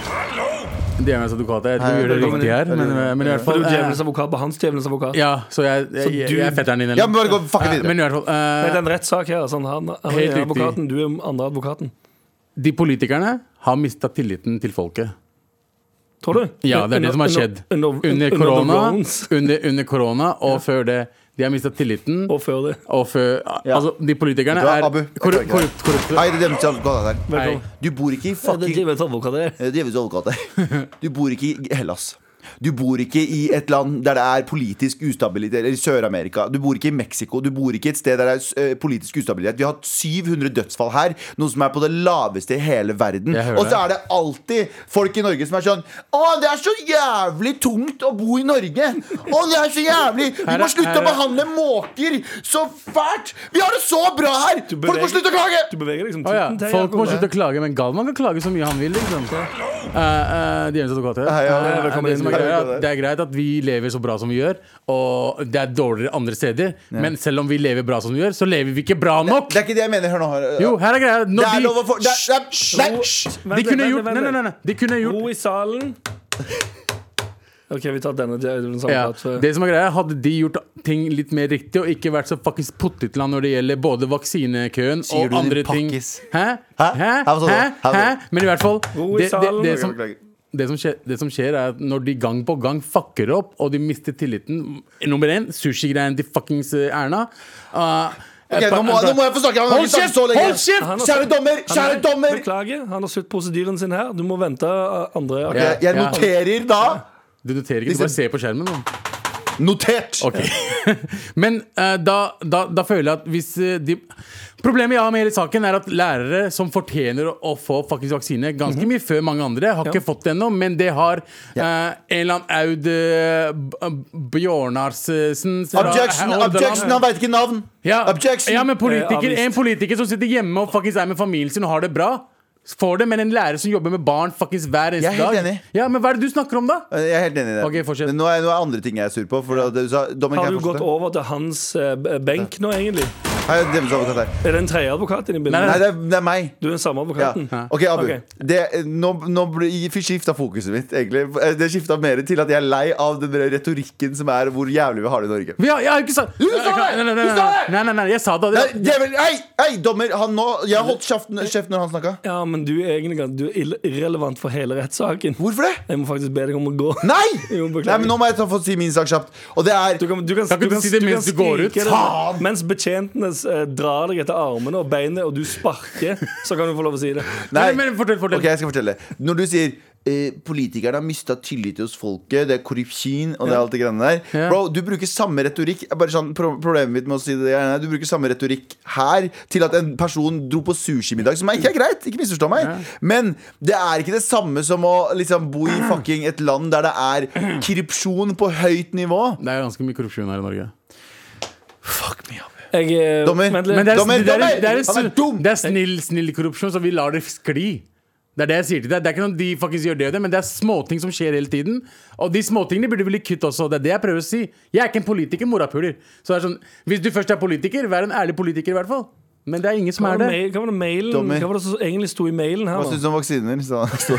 D: de, djevelens advokat jeg tror
C: Hei,
D: Du gjør det
C: velkommen
D: riktig her, men, men i hvert
B: For du
D: fall
B: er
D: eh,
B: djevelens advokat på hans djevelens advokat.
D: Ja, så jeg, jeg, jeg,
B: du-
D: er fetteren din,
C: ja, men bare gå fuck
D: Eh,
C: videre.
D: men i hvert fall eh,
B: Det er en rettssak her. Sånn, han, han
D: Helt
B: er
D: riktig.
B: advokaten, du er andre advokaten.
D: De politikerne har mista tilliten til folket.
B: Tror du?
D: Ja, det er det som har skjedd.
B: Under, under,
D: Under
B: under
D: korona,
B: the Rones,
D: under, under korona og før det. De har mista tilliten.
B: og før det.
D: Og før Altså, de politikerne
C: Vet du hva,
D: er
C: Abu, jeg
D: korru-
C: klarer ikke
D: korrupt, korrupte.
C: Hei, det er Djevelens advokat er her.
D: Hei.
B: Velkommen.
C: Du bor ikke i
B: Ja, det er
C: fucking
B: djevelens advokat det er.
C: Eh, Djevelens advokat her. Du bor ikke i Hellas. Du bor ikke i et land der det er politisk ustabilitet. Eller i Sør-Amerika. Du bor ikke i Mexico. Du bor ikke et sted der det er eh, politisk ustabilitet. Vi har hatt 700 dødsfall her, noe som er på det laveste i hele verden.
D: Jeg hører
C: Og så
D: det.
C: er det alltid folk i Norge som er sånn Å, det er så jævlig tungt å bo i Norge! Å, det er så jævlig! Vi
D: Her er-
C: må slutte
D: her
C: å
D: er-
C: behandle måker så fælt! Vi har det så bra her! Folk må
B: beveger-
C: slutte å klage!
B: Du beveger liksom
D: Å ja.
B: tuten til
D: Folk må
B: Jakob.
D: slutte å klage, men Galvan kan klage så mye han vil. Liksom. Eh, eh, Djevelens advokat her.
C: Hei, ja,
D: Eh,
B: velkommen
D: det, som er
C: inn.
D: greia er at det er greit at vi lever så bra som vi gjør, og det er dårligere andre steder, men selv om vi lever bra som vi gjør, så lever vi ikke bra nok!
C: Det er ikke det jeg mener. Hør nå. Hør.
D: Jo, her er greia.
C: Det er
D: Når
C: lov å få det
D: de,
C: er, det er, nei,
B: Vent
D: de
B: litt,
D: kunne
B: vent
D: gjort
B: litt,
D: Nei,
B: vent
D: nei, nei. nei. De kunne gjort
B: Ro i salen. OK, vi tar denne djevelens
D: ja.
B: advokat. eh. for-
D: Det som er greia, Hadde de gjort ting litt mer riktig og ikke vært så fuckings pottetland når det gjelder både vaksinekøen
C: Sier du
D: og andre
C: din
D: ting
C: pakkis?
D: Hæ? Hæ?
C: Hæ?
D: Hæ?
C: Her var sånn,
D: Hæ?
C: her var
D: Hæ?
C: sånn.
D: Men i hvert fall
B: Ro i
D: det, det,
B: salen.
D: det, som, det, som skjer, det som skjer, er at når de gang på gang fucker opp, og de mister tilliten Nummer én, sushigreiene til fuckings eh, Erna. Ah,
C: Ok,
D: eh,
C: nå, må, nå må jeg få snakke. Han har
D: Hold
C: ikke snakket
D: kjeft!
C: så lenge.
D: Hold kjeft!
B: Han har-
C: Kjære dommer!
B: Han
C: Kjære
B: er-
C: dommer!
B: Beklager, han har slutt prosedyren sin her. Du må vente uh, andre
D: Ja.
C: Jeg, jeg noterer da.
D: Du noterer ikke,
C: Disse-
D: du bare ser på skjermen. nå.
C: Notert!
D: Ok. Men eh, da, da, da føler jeg at hvis eh, de Problemet jeg har med hele saken, er at lærere som fortjener å- å få faktisk vaksine ganske
C: Mhm.
D: mye før mange andre, har ikke fått det ennå, men det har eh, en eller annen Aud eh, B- Bjørnarsen fra-
C: Objection!
D: Hordaland.
C: objection, Han veit ikke navn.
D: Ja,
C: Objection!
D: ja men
B: Eh,
D: politiker,
B: avvist.
D: en politiker som sitter hjemme og faktisk er med familien sin og har det bra, får det, men en lærer som jobber med barn faktisk hver eneste
C: Jeg er helt
D: dag
C: enig.
D: Ja, Men hva er det du snakker om, da?
C: Jeg er helt enig i det.
D: Ok, fortsett.
C: Men nå er, nå er andre ting jeg er sur på. For at du sa, dommer,
B: Har
C: kan
B: du
C: jeg
B: gått
C: fortsette?
B: over til hans eh, b- benk nå, egentlig?
C: Hei, djevelens advokat her.
B: Er det en tredje advokat inni bildet?
C: Nei, det er, det er meg.
B: Du er den samme
C: Ja.
B: advokaten?
C: OK, Abu.
B: Ok.
C: Det, nå nå skifta fokuset mitt, egentlig. Eh, Det skifta mer til at jeg er lei av den der retorikken som er hvor jævlig vi har det i Norge.
D: Vi har, jeg har ikke sagt Eh,
C: Du sa det!
D: Nei, nei, nei,
C: Du sa det!
D: nei, nei, nei, nei, jeg sa det.
C: Nei, djevel, hei, hei, dommer! Han nå, jeg holdt kjeft, kjeft når han snakka.
B: Ja, men du er egentlig gans- du er ill- irrelevant for hele rettssaken.
C: Hvorfor det?
B: Jeg må faktisk be deg om å gå.
C: Nei!
B: Jo, beklager.
C: Nei, men Nå må jeg ta, få si min sak kjapt. Og det er
B: Du kan, du kan,
D: Kan ikke du si det mens du går ut?
B: skrike det.
C: Faen!
B: Mens betjentene eh, drar deg etter armene og beinet, og du sparker, så kan du få lov å si det.
C: Nei.
D: Men- men fortell, fortell.
C: Ok, jeg skal fortelle. Når du sier eh, politikerne har mista tillit hos folket, det er korrupsjon og det er alt det greiene der.
D: Ja.
C: Bro, du bruker samme retorikk Bare sånn, pro Problemet mitt med å si det er, Du bruker samme retorikk her til at en person dro på sushimiddag, som er ikke er greit. Ikke misforstå meg. Men det er ikke det samme som å liksom bo i fucking et land der det er korrupsjon på høyt nivå.
D: Det er ganske mye korrupsjon her i Norge.
C: Eh, Fuck me up.
B: Jeg, eh,
C: Dommer.
B: vent litt.
D: Men det er,
C: Dommer,
D: det er,
C: dommer!
D: det er,
C: Han er dum!
D: det er snill, snill korrupsjon, så vi lar det skli. Det er det jeg sier til deg. Det er ikke noe de faktisk gjør det og det, men det er småting som skjer hele tiden. Og de småtingene burde bli kutt også. Det er det jeg prøver å si. Jeg er ikke en politiker, morapuler. Så det er sånn, hvis du først er politiker, vær en ærlig politiker i hvert fall. Men det er ingen som
B: Hva
D: er
B: var, det
D: det.
B: mail, hva var det mailen
C: Tommy.
B: Hva var det som egentlig sto i mailen her?
C: Hva
B: nå?
C: syns du om vaksiner? sa- sto-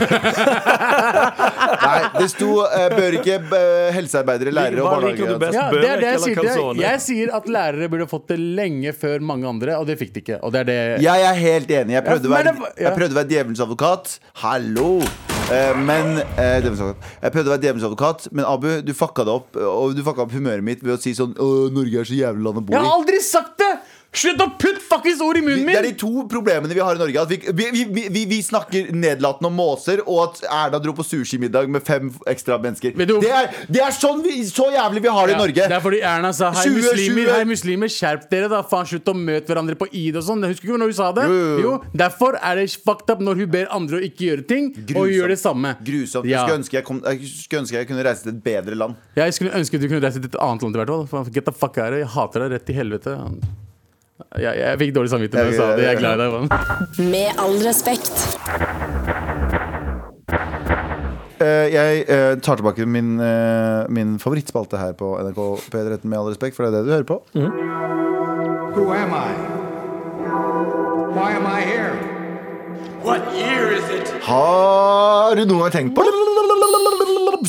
C: Nei, det sto eh, bør ikke eh, helsearbeidere, lærere og
B: Hva liker du
C: barnehager
B: best?
D: Ja, det er det jeg
B: Bønek eller
D: sier til deg.
B: calzone?
D: Jeg sier at lærere burde fått det lenge før mange andre, og det fikk de ikke. Og det er det
C: Jeg er helt enig. Jeg prøvde, å
D: Ja, men
C: være,
D: det var- ja.
C: jeg prøvde å være djevelens advokat. Hallo! Eh, men eh, djevelens advokat. Jeg prøvde å være djevelens advokat, men Abu, du fucka det opp. Og du fucka opp humøret mitt ved å si sånn Åh, Norge er så jævlig land å bo
D: Jeg
C: i.
D: har aldri sagt det! Slutt å putte fuckings ord i munnen
C: Det er
D: min!
C: de to problemene vi har i Norge. At vi, vi, vi- vi, vi, vi snakker nedlatende om måser, og at Erna dro på sushimiddag med fem ekstra mennesker.
D: Vet du-
C: Det er, det er sånn vi, så jævlig vi har det i
D: Ja,
C: Norge.
D: Det er fordi Erna sa hei
C: 20,
D: muslimer,
C: 20.
D: hei muslimer, skjerp dere da, faen slutt å møte hverandre på id og sånn. Jeg Husker ikke når hun sa det?
C: Jo, jo, jo.
D: Derfor er det fucked up når hun ber andre å ikke gjøre ting, og
C: Grusomt.
D: gjør det samme.
C: Grusomt.
D: Ja.
C: Jeg, skulle ønske jeg, kom, jeg skulle ønske jeg kunne reise til et bedre land.
D: Jeg skulle ønske du kunne reise til et annet land i hvert fall. Faen, Get the fuck out of here. Jeg hater deg rett til helvete. Jeg, jeg fikk dårlig samvittighet da
C: Jeg-
D: jeg sa det. Jeg er glad i deg. mann.
A: Med all respekt.
C: Eh, jeg eh, tar tilbake min, eh, min favorittspalte her på NRK P13, med all respekt, for det er det du hører på.
F: Who am I? Why am I here?
C: Har du noen gang tenkt på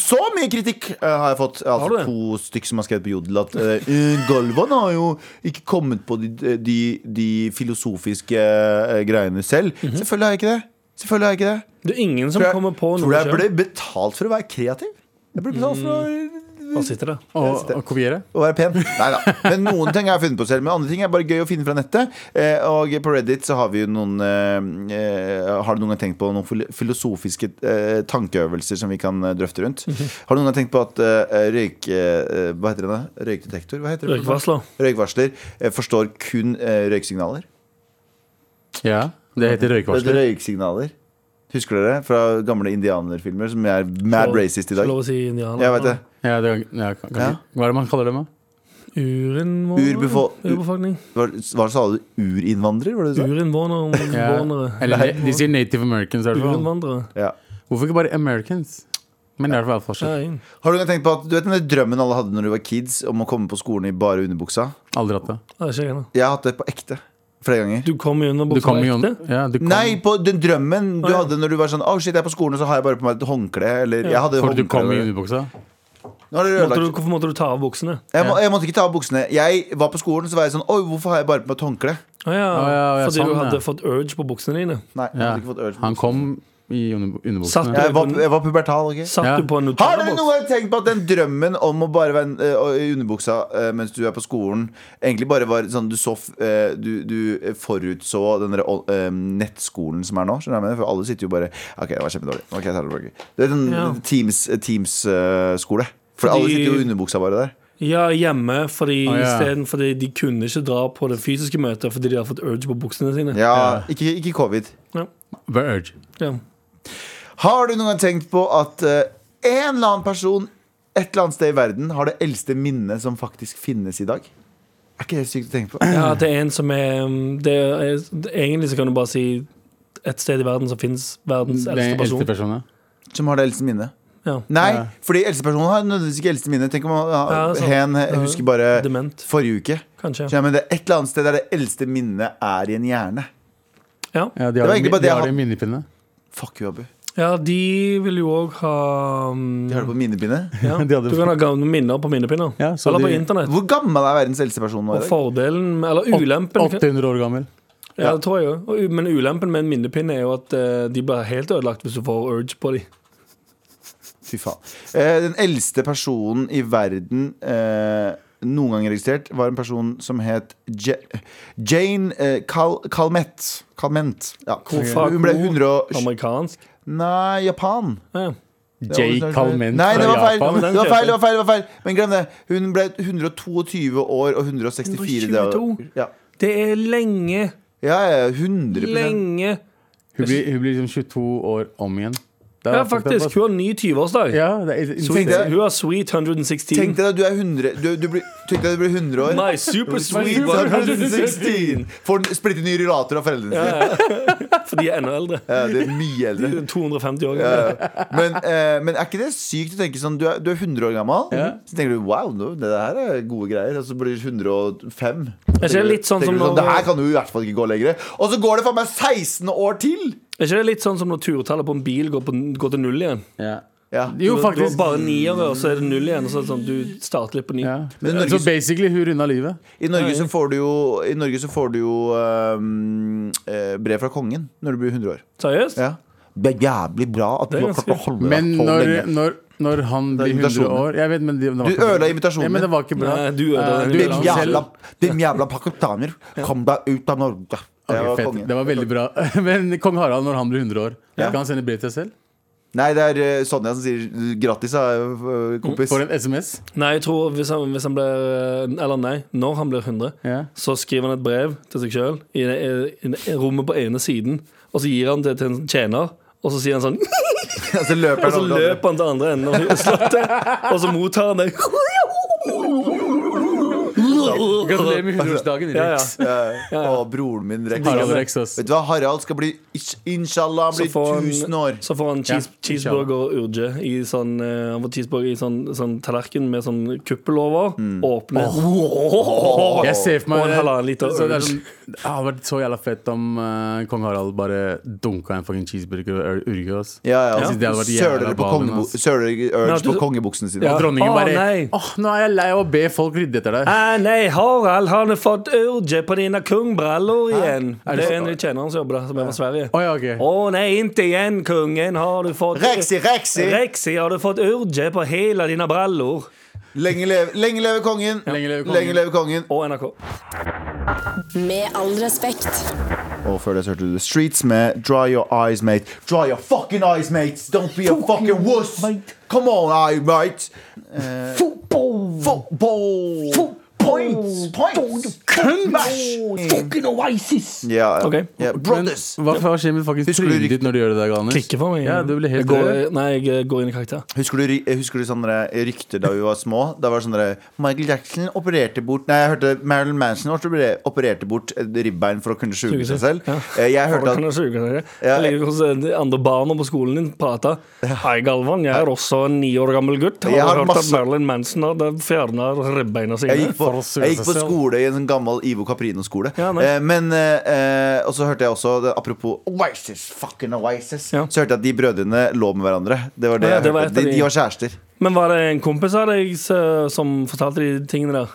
C: Så mye kritikk eh, har jeg fått. Altså,
B: Har du det?
C: To stykk som har skrevet på Jodel at eh, Galvan har jo ikke kommet på de, eh, de, de filosofiske eh, greiene selv. Selvfølgelig har jeg ikke det. Selvfølgelig har jeg ikke det.
B: Det er ingen som
C: Tror jeg,
B: Mhm. kommer på
C: tror
B: noe
C: jeg ble betalt for å være kreativ. Jeg ble betalt for å
B: Hva sitter det?
D: Og, og kopiere.
C: å være pen. Nei da. Men noen ting har jeg funnet på selv. Men andre ting er bare gøy å finne fra nettet. Eh, og på Reddit så har vi jo noen eh, eh, Har du noen gang tenkt på noen fil- filosofiske eh, tankeøvelser som vi kan eh, drøfte rundt? Har du noen gang tenkt på at eh, røyk... Eh, hva heter det da? Røykdetektor? Hva heter det?
B: Røykvarsler.
C: Røykvarsler eh, forstår kun eh, røyksignaler.
D: Ja, det heter
C: Det
D: røykvarsler.
C: er Røyksignaler. Husker dere fra gamle indianerfilmer som er mad racist i dag?
B: Lov å si indianer.
C: Jeg vet det.
D: Ja, det, ja, kan, kan,
C: Ja.
D: Hva er det man kaller det med?
B: Urinnvåner.
C: Urbefo-
B: Urbefolkning.
C: Hva, hva sa du? Urinnvandrer? Var det det du sa?
B: Urinnvåner.
D: Ja.
B: Innvånere.
D: Eller de sier Native Americans. i hvert fall.
B: Urinnvandrere.
C: Ja.
D: Hvorfor ikke bare Americans? Men det er i hvert fall forskjell.
B: Nei.
C: Har du tenkt på at, du vet den der drømmen alle hadde når de var kids Om å komme på skolen i bare underbuksa?
D: Aldri hatt det.
B: Det er ikke jeg, da.
C: Jeg har hatt det på ekte flere ganger
B: Du kom i
D: Du
B: underbuksa
D: kom jo
B: ekte.
D: ja, du kom.
C: Nei, på den drømmen du
B: Å, ja.
C: hadde når du var sånn Åh shit, jeg er på skolen og så har jeg bare på meg et håndkle Eller jeg hadde
D: For du kom i
C: håndkle
D: underbuksa?
C: Nå har
B: Måtte du,
C: dere ødelagt.
B: hvorfor måtte du ta av buksene?
C: jeg, må, jeg måtte ikke ta av buksene Jeg var på skolen så var jeg sånn Oi, hvorfor har jeg bare på meg et håndkle?
B: Å ja,
D: Å ja, ja,
B: fordi
D: sånn,
B: du
D: ja.
B: hadde fått urge på buksene dine.
C: Nei, jeg
D: Ja.
C: hadde ikke fått øl
D: Han kom i under-
B: Satt
D: underbuksene.
B: du-
C: jeg var, jeg var pubertal, ok?
B: Satt
D: Ja.
B: du på en
C: Har dere noen
B: Nutella-boks?
C: gang tenkt på at den drømmen om å bare være en, eh, i underbuksa eh, mens du er på skolen, egentlig bare var sånn du så f- eh, Du, du forutså den derre eh, nettskolen som er nå, skjønner du hva jeg mener? For alle sitter jo bare OK, det var kjempedårlig. Ok, jeg tar det tilbake. Det er en
B: Ja.
C: Teams-skole. Teams, eh, skole. for alle
B: Fordi-
C: sitter jo i underbuksa bare der.
B: Ja, hjemme, fordi
D: Å, ja.
B: isteden fordi de kunne ikke dra på det fysiske møtet fordi de hadde fått urge på buksene sine.
C: Ja, Ikke, ikke covid.
D: Verge.
B: Ja.
C: Har du noen gang tenkt på at eh, en eller annen person et eller annet sted i verden har det eldste minnet som faktisk finnes i dag? Er ikke det sykt å tenke på?
B: Ja, at det er en som er, um, det er Egentlig så kan du bare si et sted i verden som finnes verdens
D: Den
B: eldste person.
D: eldste personen.
C: Som har det eldste minnet?
B: Ja.
C: Nei,
D: Ja.
C: fordi eldstepersonen har nødvendigvis ikke eldste minne. Tenk om han
B: Ja, sant.
C: hen jeg husker bare
B: Dement,
C: forrige uke.
B: kanskje.
C: Så, ja, men det er et eller annet sted der det eldste minnet er i en hjerne.
B: Ja.
D: Ja, de
C: Det var
D: har det,
C: egentlig bare det
D: de
C: jeg
D: har
C: hadde.
D: det i minnepinne.
C: Fuck you, Abu.
B: ja, de vil jo òg ha um,
C: De har det på minnepinnet.
B: ja.
D: De hadde-
B: Du kan ha gamle minner på minnepinner.
D: Ja, så
B: eller på
D: de-
B: internett.
C: Hvor gammel er verdens eldste person
B: Og
C: nå? i dag?
B: fordelen med- Eller ulempen.
D: 800 år gammel.
B: Ja, det tror jeg jo. Og u- Men ulempen med en minnepinne er jo at eh, de blir helt ødelagt hvis du får urge på dem.
C: Fy faen. Eh, den eldste personen i verden eh, noen gang registrert, var en person som het Je Jane eh, Cal Calment. Calment. Ja.
B: Hvorfor-
C: Hun ble 100 og...
B: Amerikansk.
C: Nei, Japan.
B: Ja.
D: J. Calment
C: Nei, det var
D: fra
C: feil.
D: Japan.
C: Det var feil, det var feil, det var feil. Men glem det. Hun ble 122 år og 164 dager.
B: 122?
C: Ja.
B: Det er lenge,
C: ja, ja, 100
B: lenge
D: Hun blir, hun blir liksom 22 år om igjen. Det er
B: Ja, faktisk. Hun har ny 20-årsdag.
D: Ja, det er
B: Sweet-
D: insane.
C: Tenkte-
B: Hun har sweet 116.
C: Tenk deg at du er 100 du, du blir, Tenk deg at du blir 100 år.
B: My super sweet
C: Sweet
B: 116.
C: 116 Får en splitter ny rullator av foreldrene sine.
B: For de er enda eldre.
C: Ja, det er mye eldre.
B: 250 år
C: Ja,
B: gamle.
C: ja. men, eh, men er ikke det sykt å tenke sånn Du er, du er 100 år gammel, så tenker du wow, nå, det her er gode greier. Og så blir du 105.
B: Er ikke det litt sånn som
C: Tenker du
B: når-
C: Det her kan du i hvert fall ikke gå lenger. Og så går det faen meg 16 år til!
B: Er ikke det litt sånn som når turtallet på en bil går, på, går til null igjen?
D: Ja.
C: Ja.
D: Jo,
B: Du- Du
D: faktisk.
B: har bare niere, og så er det null igjen. Og så er det sånn, du starter litt på ny.
D: Ja.
C: Men Norges-
D: Så basically, hun runda livet.
C: I Norge så får du jo, i Norge så får du jo ehm, eh, brev fra kongen når du blir 100 år.
B: Seriøst?
C: Ja. Det er jævlig bra at du
B: Det er
C: har klart å
B: ganske-
C: holde
D: Men
C: deg
D: når,
C: lenge.
D: når, når han
C: Det er
D: blir 100
C: invitasjonen.
D: år jeg vet, men det, det var
C: Du
D: ikke-
C: ødela invitasjonen
D: ja, men
C: min.
D: det var ikke bra.
B: Nei, du ødela
D: Eh,
B: den
D: du
B: invitasjonen.
D: gikk selv.
C: Jævla, dem jævla pakistanere, kom deg ut av Norge! Det
D: Ok,
C: var
D: fett.
C: kongen.
D: Det var veldig bra. Men kong Harald, når han blir 100 år,
C: Ja.
D: kan han sende brev til seg selv?
C: Nei, det er eh, Sonja som sier eh, 'grattis', eh, kompis.
D: For en SMS?
B: Nei, jeg tror hvis han, hvis han blir eh, Eller nei, når han blir 100,
D: Ja.
B: så skriver han et brev til seg sjøl i, det- i, det rommet på ene siden, og så gir han det til en tjener. Og så sier han sånn Og
C: Og så løper
B: så
C: han over
B: løper han til andre enden av slottet, og så mottar han det.
D: Gratulerer med 100-årsdagen,
B: Ja, ja.
D: Rex.
C: Ja, ja. Å, broren min Rex.
D: Harald Rex, ass.
C: Vet du hva, Harald skal bli ish- Inshallah
B: Så
C: bli
B: får han-
C: 1000 år.
B: Så får han cheese,
D: Ja,
B: cheeseburger og urge i sånn, eh, han får cheeseburger i sånn, sånn tallerken med sånn kuppel over. Åpne.
D: Mm. Jeg ser for meg
B: Og en halvannen liter
D: så det, er
B: urge.
D: sånn, det hadde vært så jævla fett om eh, kong Harald bare dunka en fucking cheeseburger og urge oss.
C: Ja, ja.
D: Jeg synes det hadde vært jævla
C: Søler på,
D: ballen,
C: kongebo
D: ass.
C: søler
B: Nei,
C: urge
B: du-
C: på kongebuksene sine.
B: Ja.
D: Dronningen
B: Å,
D: bare
B: nei.
D: Åh, nå er jeg lei av å be folk rydde etter
C: Eh,
D: deg.
B: Ah, nei, Harald, har du fått urge på dine kungbrallor igjen?
D: Er det
B: det
D: så-
B: er en av de tjenerne som jobber der, som er fra Sverige.
D: Å, ja, ok.
B: Å nei, ikke igjen, kungen. Har du fått
C: Rexi, Rexi!
B: Rexi, har du fått urge på hele dine brallor?
C: Lenge leve, lenge leve kongen!
D: Lenge leve kongen.
C: Lenge leve kongen.
B: Og NRK.
A: Med all respekt.
C: Og før det så hørte du The Streets med Dry Your Eyes, Mate. Dry your fucking eyes, mates! Don't be a fucking wuss! Come on, I, mate! Football! Football! Points! Points!
B: Fucking Oasis!
C: Ja, ja.
B: Ok.
C: ja.
D: Men
C: Brothers!
D: hva faen skjer med fucking
C: Husker du
D: trynet
C: rykt-
D: ditt når du gjør det der, Galnes?
B: Klikker for meg.
D: Ja, du blir helt
B: jeg går,
D: rød.
B: Nei, jeg går inn i karakter.
C: Husker du, ry- husker du sånne rykter da vi var små? Da var det sånne Michael Jackson opererte bort Nei, jeg hørte Marilyn Manson opererte- opererte bort et ribbein for å kunne suge
B: Suge
C: seg
B: seg.
C: selv.
B: Ja.
C: Eh, Jeg
B: Folk
C: hørte
B: kan
C: at
B: jo suge seg.
C: Ja,
B: Jeg liker hvordan de andre barna på skolen din prater. Hei, Galvan, jeg er også en ni år gammel gutt. Har
C: Jeg har
B: du hørt
C: masse-
B: at Marilyn Manson hadde fjerna ribbeina sine?
C: jeg gikk, på,
D: For å suge
C: jeg gikk
D: seg
C: på
D: selv.
C: skole i en sånn gammel Ivo Caprino-skole.
B: Ja, nei.
C: Eh, men eh, eh, Og så hørte jeg også, det, apropos Oasis, fucking Oasis,
B: Ja.
C: så hørte jeg at de brødrene lå med hverandre. Det var det
B: Ja,
C: jeg
B: det var
C: hørte.
B: et av
C: de,
B: de-
C: de var kjærester.
B: Men var det en kompis av deg s- som fortalte de tingene der?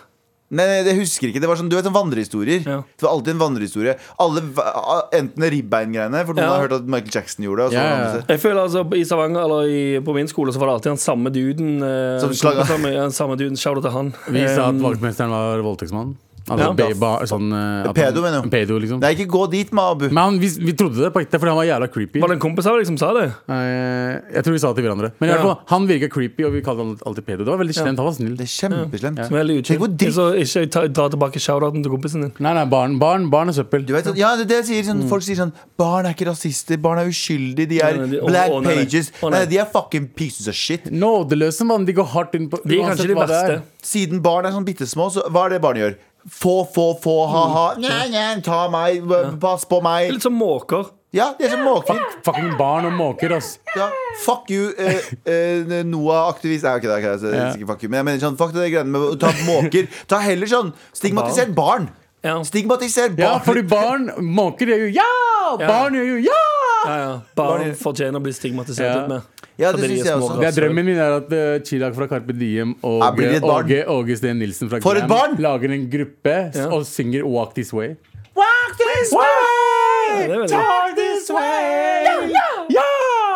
C: Nei, nei, det husker jeg ikke. Det var sånn, du vet sånn vandrehistorier.
B: Ja.
C: Det var alltid en vandrehistorie. Alle, va- Enten ribbeingreiene, for noen
B: Ja.
C: har hørt at Michael Jackson gjorde det. Og så
D: Ja, ja.
C: andre-
B: Jeg føler altså I Stavanger eller i, på min skole så var det alltid han samme duden. Eh,
C: Som slaga.
B: kompis av meg, ja, samme duden, Shout out til han.
D: Vi sa at
B: Eh,
D: vaktmesteren var voldtektsmann. Altså,
B: Ja.
D: be- ba, sånn, eh, at
C: Pedo, mener
D: han-
C: du?
D: Pedo, liksom.
C: Nei, ikke gå dit med Abu.
D: Men han, vi, vi trodde det på ekte, for han var jævla creepy.
B: var det en kompis av deg som sa det?
D: Eh, jeg tror vi sa det til hverandre. Men i
B: Ja.
D: hvert fall, han virka creepy, og vi kalte han alltid pedo. Det var veldig slemt. Han var snill.
C: Det er kjempeslemt.
B: Veldig
C: Tenk hvor
B: utkjent.
C: dritt
B: Så ikke ta, dra tilbake shout-outen til kompisen din.
D: Nei, nei, barn, barn, barn er søppel.
C: du vet, sånn- Ja, det er det jeg sier
B: Mm.
C: sånn, Folk sier sånn Barn er ikke rasister, barn er uskyldige, de er
B: Nei, nei, de- å,
C: black
B: å, nei, nei.
C: pages.
B: Å,
C: nei.
B: nei.
C: de er fucking pieces of shit.
D: Nådeløse, mann. De går hardt inn på
B: De er kanskje de
D: hva det
B: verste.
D: er.
C: Siden barn er sånn bitte små, så hva er det barn gjør? Få, få, få,
B: Mm.
C: ha-ha. Nei, nei, ta meg, b- pass
B: Det
C: på
B: er
C: meg.
B: Litt som måker.
C: Ja, de er som måker.
D: Fucking barn og måker, ass.
C: Ja, fuck you, eh, eh, Noah-aktivist. Nei, ok, det er ikke det. så det er
D: Ja.
C: ikke fuck you. Men jeg mener sånn, fuck det der greiene med å ta måker. Ta heller sånn stigmatisert barn.
B: Ja.
C: Stigmatisert barn.
D: Ja, fordi barn Måker gjør jo ja!
B: Ja.
D: Barn gjør jo ja!
B: Ja, ja.
C: Barn-
B: Barn fortjener å bli stigmatisert
D: Ja.
B: litt mer.
C: Ja, det
B: Fordi de
C: synes
B: er
C: jeg
B: små
C: også.
B: rasshøl.
D: Det er drømmen min er at eh, Chirag fra Carpe Diem og eh,
C: Jeg blir et barn.
D: Åge, Åge Steen Nilsen fra
C: For et barn!
D: lager en gruppe s-
B: Ja.
D: og synger Walk This Way.
B: Ja, det er veldig-
D: Walk this way! Ja! ja!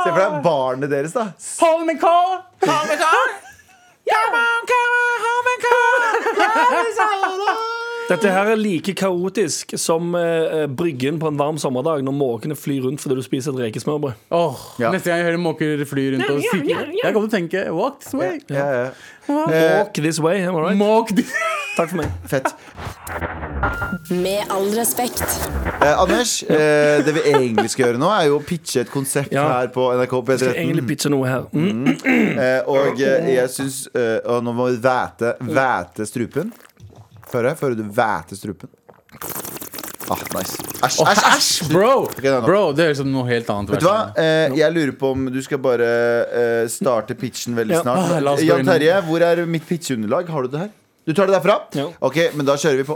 C: Se for deg barnet deres, da.
D: Hold me call! Hold me call! Come on, come on, hold me call!
B: Dette her er like kaotisk som eh, eh, bryggen på en varm sommerdag når måkene flyr rundt fordi du spiser et rekesmørbrød.
D: Åh,
C: Ja.
D: Neste gang jeg hører måker fly rundt og stikke Jeg kommer til å tenke Walk this way.
C: Ja, ja.
B: Walk this way, am I right?
D: Måk this
B: Takk for meg.
C: Fett.
A: Med all respekt.
C: Eh, Anders, eh, det vi egentlig skal gjøre nå, er jo å pitche et konsept
B: Ja.
C: her på NRK
B: Jeg skal
C: P13.
B: egentlig pitche noe her. Mm.
C: Eh, og eh, jeg syns eh, Og nå må vi væte, væte strupen. Fører jeg? Fører du væte strupen? Ah, nice. Æsj, æsj, æsj!
D: Bro,
C: da, da.
D: bro det høres ut som noe helt annet.
C: Vet du hva? Eh, jeg lurer på om du skal bare eh, starte pitchen veldig
B: Ja.
C: snart.
D: Ah, la oss gå
C: Jan
D: inn.
C: Terje, hvor er mitt pitcheunderlag? Har du det her? Du tar det derfra?
B: Ja.
C: Ok, men da kjører vi på.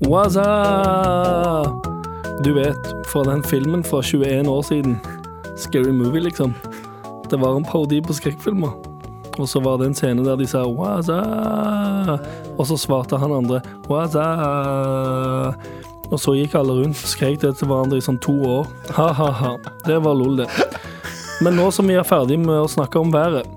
B: Waza! Du vet, fra den filmen fra 21 år siden. Scary movie, liksom. Det var en parodi på skrekkfilmer. Og så var det en scene der de sa Waza! Og så svarte han andre Waza! Og så gikk alle rundt og skrek det til hverandre i sånn to år. Ha-ha-ha. Det var lol, det. Men nå som vi er ferdig med å snakke om været,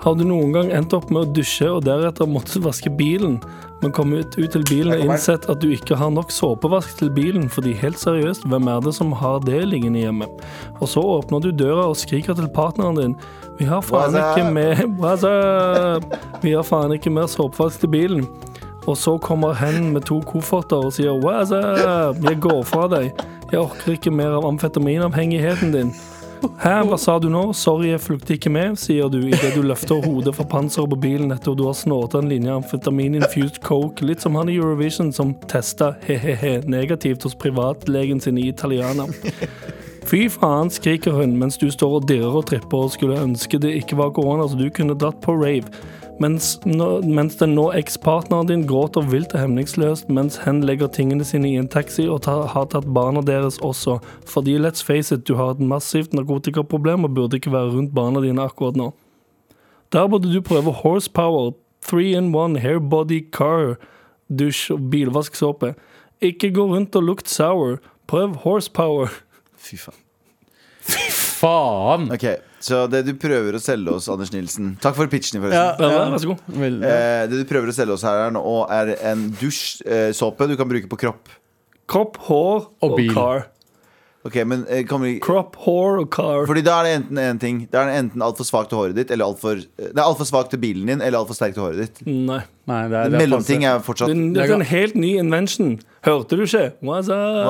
B: har du noen gang endt opp med å dusje og deretter måttet vaske bilen, men kom ut, ut til bilen og innsett at du ikke har nok såpevask til bilen, fordi helt seriøst, hvem er det som har det liggende hjemme? Og så åpner du døra og skriker til partneren din. Vi har faen
C: What's
B: ikke
C: up?
B: mer What's up? Vi har faen ikke mer såpevask til bilen. Og så kommer hen med to kofferter og sier What's up? Jeg går fra deg. Jeg orker ikke mer av amfetaminavhengigheten din. Hæ, hva sa du nå? Sorry, jeg fulgte ikke med, sier du idet du løfter hodet fra panseret på bilen etter du har snåta en linje amfetamin-infused coke, litt som han i Eurovision som testa he-he-he negativt hos privatlegen sin i Italiana. Fy faen, skriker hun mens du står og dirrer og tripper og skulle ønske det ikke var korona, så du kunne dratt på rave. Mens, nå, mens den nå ekspartneren din gråter vilt og hemningsløst mens hen legger tingene sine i en taxi og tar, har tatt barna deres også. Fordi let's face it, du har et massivt narkotikaproblem og burde ikke være rundt barna dine akkurat nå. Der burde du prøve horsepower, three in one, hair body car, dusj og bilvasksåpe. Ikke gå rundt og lukt sour. Prøv horsepower.
C: Fy faen.
D: Faen!
C: Ok, Så det du prøver å selge oss, Anders Nilsen Takk for pitchen, forresten.
B: Ja, vær så god.
D: Vel,
C: Eh, det du prøver å selge oss her, er, nå, er en dusjsåpe du kan bruke på kropp.
B: Kropp, hår og,
D: bil.
B: car.
C: Ok, men eh, kan vi
B: Kropp, hår og car.
C: Fordi da er det enten en ting Da er det enten altfor svakt til håret ditt, eller altfor Det er altfor svakt til bilen din, eller altfor sterkt til håret ditt.
B: Nei.
D: nei, det er, det er
C: Mellomting
D: passe.
C: er fortsatt
B: Det er en- det er en helt ny invention. Hørte du ikke? What's up?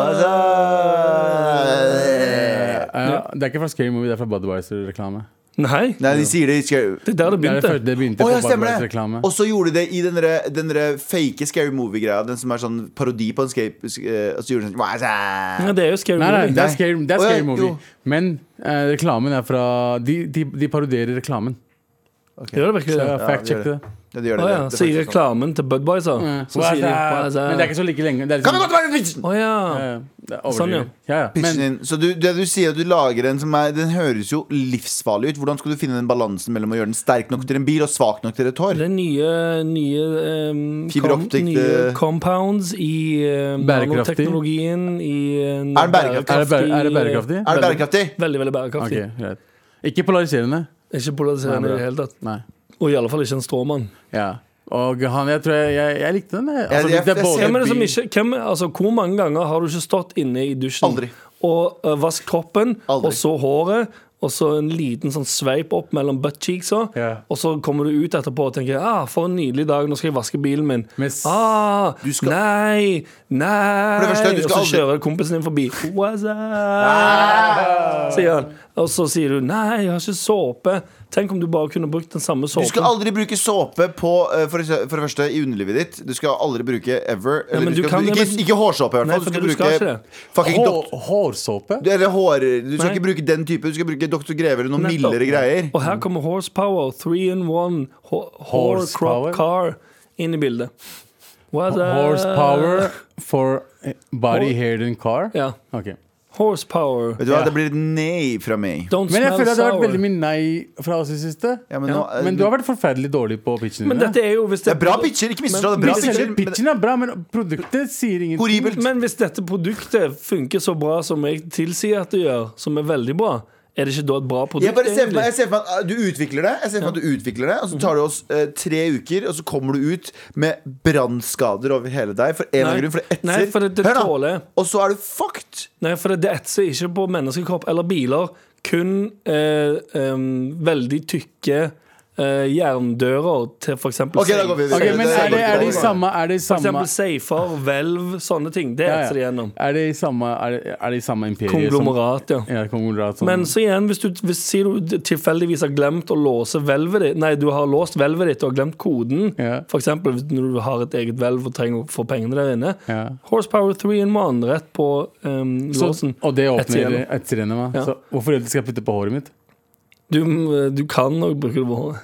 C: Nei,
D: Eh, det er ikke fra Scary Movie, det er fra Budwiser-reklame.
B: Nei,
C: de sier det skal
B: det er der det
D: Det er det første
B: begynte.
D: det begynte
C: Å ja,
D: på
C: stemmer det!
D: Budwiser-reklame.
C: Og så gjorde de det i den derre- den derre fake scary movie-greia. Den som er sånn parodi på en skate... eh, Og så gjorde de sånn
B: Ja, det er jo scary
D: Nei, nei,
B: movie.
D: det er Scary, det er
C: Å ja,
D: scary Movie.
C: jo.
D: Men eh, reklamen er fra De, de, de parodierer reklamen.
B: Gjør det virkelig
D: Så
B: det?
D: fact-check
C: gjør
D: det.
C: Ja, de gjør det,
B: Å
C: det.
B: ja,
C: Det er
B: sier
C: faktisk sånn.
B: reklamen til Budwiser. Så
D: What's
B: sier de
D: up?
B: what's
D: Men det Eh, er
B: up?
D: ikke så like lenge. Det er liksom-
C: Kan vi gå tilbake til pitchen?
B: Å ja.
D: Eh, det er
B: Sånn, ja.
D: overdrivet. ja. ja.
C: Pitchen
D: Men,
C: din. Så du, det du sier at du lager en som er Den høres jo livsfarlig ut. Hvordan skal du finne den balansen mellom å gjøre den sterk nok til en bil og svak nok til et hår?
B: Det er nye, nye, ehm,
C: Fiberoptikk,
B: nye
C: det-
B: compounds i um,
D: Bærekraftig.
B: nanoteknologien. I, eh,
C: Er den bærekraftig?
D: er, det bære, er det bærekraftig?
C: Er det bærekraftig?
B: Veldig, veldig bærekraftig.
D: Ok, greit. Ikke polariserende.
B: Ikke
D: Nei,
B: polariserende
D: bra.
B: i det hele tatt.
D: Nei.
B: Og i alle fall ikke en stråmann.
D: Ja. Og han, jeg tror jeg, jeg, jeg likte den. jeg. Altså,
C: jeg-
D: det er
C: jeg
D: både
C: ser-
B: Hvem er det som
D: bil-
B: ikke, hvem, altså, hvor mange ganger har du ikke stått inne i dusjen
C: Aldri.
B: og uh, vasket kroppen,
C: Aldri.
B: og så håret, og så en liten sånn sveip opp mellom buttcheeksa,
D: Ja.
B: og så kommer du ut etterpå og tenker ah, 'For en nydelig dag, nå skal jeg vaske bilen min'.
D: Men s-
B: ah,
C: skal-
B: Nei, nei
C: For det første, du
B: Og
C: skal
B: så
C: aldri-
B: kjører kompisen din forbi. What's up?
C: Ah.
B: Sier han. Og så sier du 'Nei, jeg har ikke såpe'. Tenk om du bare kunne brukt den samme
C: Du
B: såpen.
C: skal aldri bruke såpe på eh, for, ekse- for det første i underlivet ditt. Du skal aldri bruke ever. Eller,
B: men
C: du
B: du
C: skal,
B: kan det,
C: ikke,
B: men-
C: ikke hårsåpe, i hvert
B: Nei,
C: fall. Du
B: for
C: skal
B: du skal
C: bruke
B: ikke det.
C: fucking
D: Hår,
C: doktor...
D: hårsåpe?
C: Eller hår Du skal
B: Nei.
C: ikke bruke den type. Du skal bruke Dr. Greve eller noen
B: Nettopp.
C: mildere greier.
B: Og her kommer horsepower, three in one, ho- hår,
D: Horsepower?
B: crop, car inn i bildet. What the-
D: Horsepower for eh, body,
B: Hår-
D: hair and car?
B: Ja.
D: Ok.
B: Horsepower.
C: Vet du hva,
D: Ja.
C: Det blir et nei fra meg.
B: Don't
D: Men
B: smell
D: jeg føler at det har vært
B: sour.
D: veldig mye nei fra oss i det siste.
C: Ja, men, nå, eh,
D: Men du har vært forferdelig dårlig på pitchen
B: Men
D: din.
B: dette er jo hvis
C: Det er bra pitcher, ikke misforstå. det er Bra
D: Pitchen,
C: pitcher, men det
D: pitchen er bra, men produktet sier
C: er
D: ingenting.
C: horribelt.
B: Men hvis dette produktet funker så bra som jeg tilsier at det gjør, som er veldig bra, er det ikke da et bra produkt?
C: Jeg bare ser for
B: egentlig?
C: meg, jeg ser for meg at uh, du utvikler det, Jeg ser for meg at du utvikler det og så
B: Mhm.
C: tar det oss eh, tre uker, og så kommer du ut med brannskader over hele deg. For
B: Nei.
C: en av grunnen, for det etser.
B: Nei, for det- det tåler.
C: Og så er du fucked!
B: Nei, for det, det etser ikke på menneskekropp eller biler, kun eh, em, veldig tykke eh, eh, jerndører til for eksempel
C: Ok, da går vi videre.
D: Ok, men
C: Det-
D: er det, er det i
C: det-
D: samme Er det i
B: For
D: samme
B: eksempel safer, hvelv, sånne ting. Det
D: ja,
B: etser de
D: ja.
B: gjennom.
D: Er det i samme, er det, er det i samme imperiet
B: Konglomerat, ja.
D: Som, ja, konglomerat som,
B: Men så igjen, hvis du, hvis, sier du tilfeldigvis har glemt å låse hvelvet ditt Nei, du har låst hvelvet ditt og glemt koden.
D: Ja.
B: For eksempel hvis- når du har et eget hvelv og trenger å få pengene der inne.
D: Ja.
B: Horsepower 3 in 1 rett på um,
D: så,
B: låsen.
D: Og det
B: Ett
D: åpner
B: igjennom.
D: etter henne, hva?
B: Ja.
D: Så Hvorfor er det du skal putte på håret mitt?
B: Du, eh, du kan nok bruke det på håret.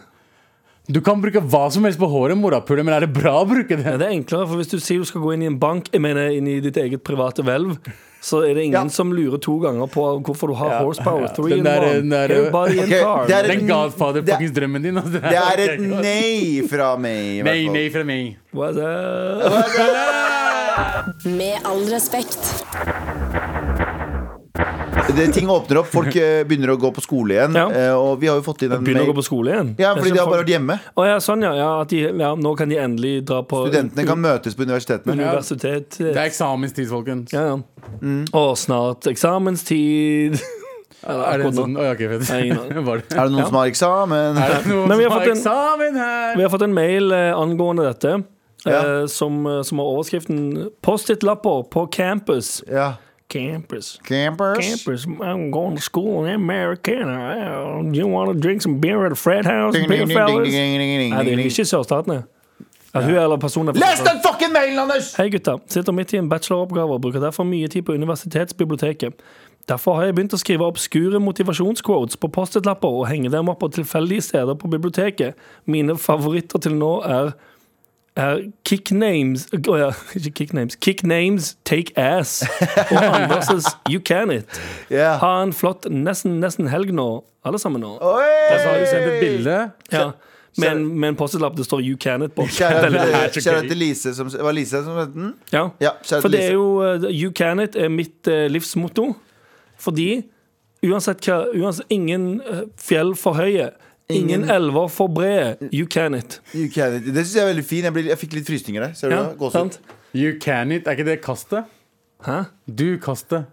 D: Du kan bruke hva som helst på håret, morapule, men er det bra å bruke det?
B: Ja, det er enklere, for hvis du sier du skal gå inn i en bank, jeg mener inn i ditt eget private hvelv, så er det ingen
C: Ja.
B: som lurer to ganger på hvorfor du har
D: Ja,
B: horsepower
D: ja.
B: 3
D: Den
B: in
D: der-
B: 1.
D: den der-
B: Everybody in
C: Ok,
B: car.
C: det er et-
D: Den
C: det er-
D: godfather-fuckings drømmen din. altså.
C: Det er et nei fra meg. i hvert
D: Nei,
C: fall.
D: nei fra meg.
B: What's up?
A: Med all respekt.
C: Det, ting åpner opp, folk eh, begynner å gå på skole igjen.
B: Ja.
C: eh, Og vi har jo fått inn en
B: Begynner å
C: mail.
B: gå på skole igjen?
C: Ja, fordi de har bare vært hjemme.
B: Å ja, sånn ja. ja, at de, ja. Nå kan de endelig dra på
C: Studentene kan møtes på universitetene.
B: universitet.
D: Det er eksamenstid, folkens.
B: Ja, ja. Og snart eksamenstid.
D: Er
B: akkurat
D: det en
B: nå.
D: sånn Oi, ok, fett.
B: Nei, ingen aning.
D: Var det-
C: Er det noen som har eksamen?
D: Er det noen
B: Men vi
D: som
B: har
D: har
B: fått en-
D: eksamen her?
B: Vi har fått en mail eh, angående dette,
C: Ja.
B: eh, som, eh, som har overskriften 'Post-it-lapper på campus'.
C: Ja.
B: Campus.
C: Campers.
B: Campus, I'm going to school in Americana. Uh, You want to drink some beer at a frat house,
C: Ding, ding,
B: beer
C: ding, ding,
B: fellas?
C: ding, ding, ding,
B: Nei, det
C: ding,
B: er
C: ding.
B: ikke sørstatene. At hun eller personen er fra
C: Les den fucking mailen, Anders!
B: Hei gutta, sitter midt i en bacheloroppgave og bruker derfor mye tid på universitetsbiblioteket. Derfor har jeg begynt å skrive obskure motivasjonsquotes på post-it-lapper og henge dem opp på tilfeldige steder på biblioteket. Mine favoritter til nå er er kick names Å ja, ikke kick names. Kick names take ass. Og Anders' you can it.
C: Ja.
B: Ha en flott nesten, nesten helg nå, alle sammen nå.
D: Og så har du sendt et bilde.
B: Ja. Med en, med en post-it-lapp det står you can it på.
C: Kjære
D: så
C: kjære
D: gøy.
C: til Lise som Var det Lise som het den?
B: Ja,
C: Ja, kjære
B: for det
C: Lise.
B: er jo eh, You can it er mitt eh, livsmotto. Fordi uansett hva uansett, Ingen eh, fjell for høye. Ingen, elver for brede. You can it.
C: You can it. Det syns jeg er veldig fin. Jeg, blir, jeg fikk litt frysninger der. Ser du
B: Ja,
C: det? Gåsehud.
B: sant?
D: You can it. Er ikke det kastet?
B: Hæ?
D: Du kastet.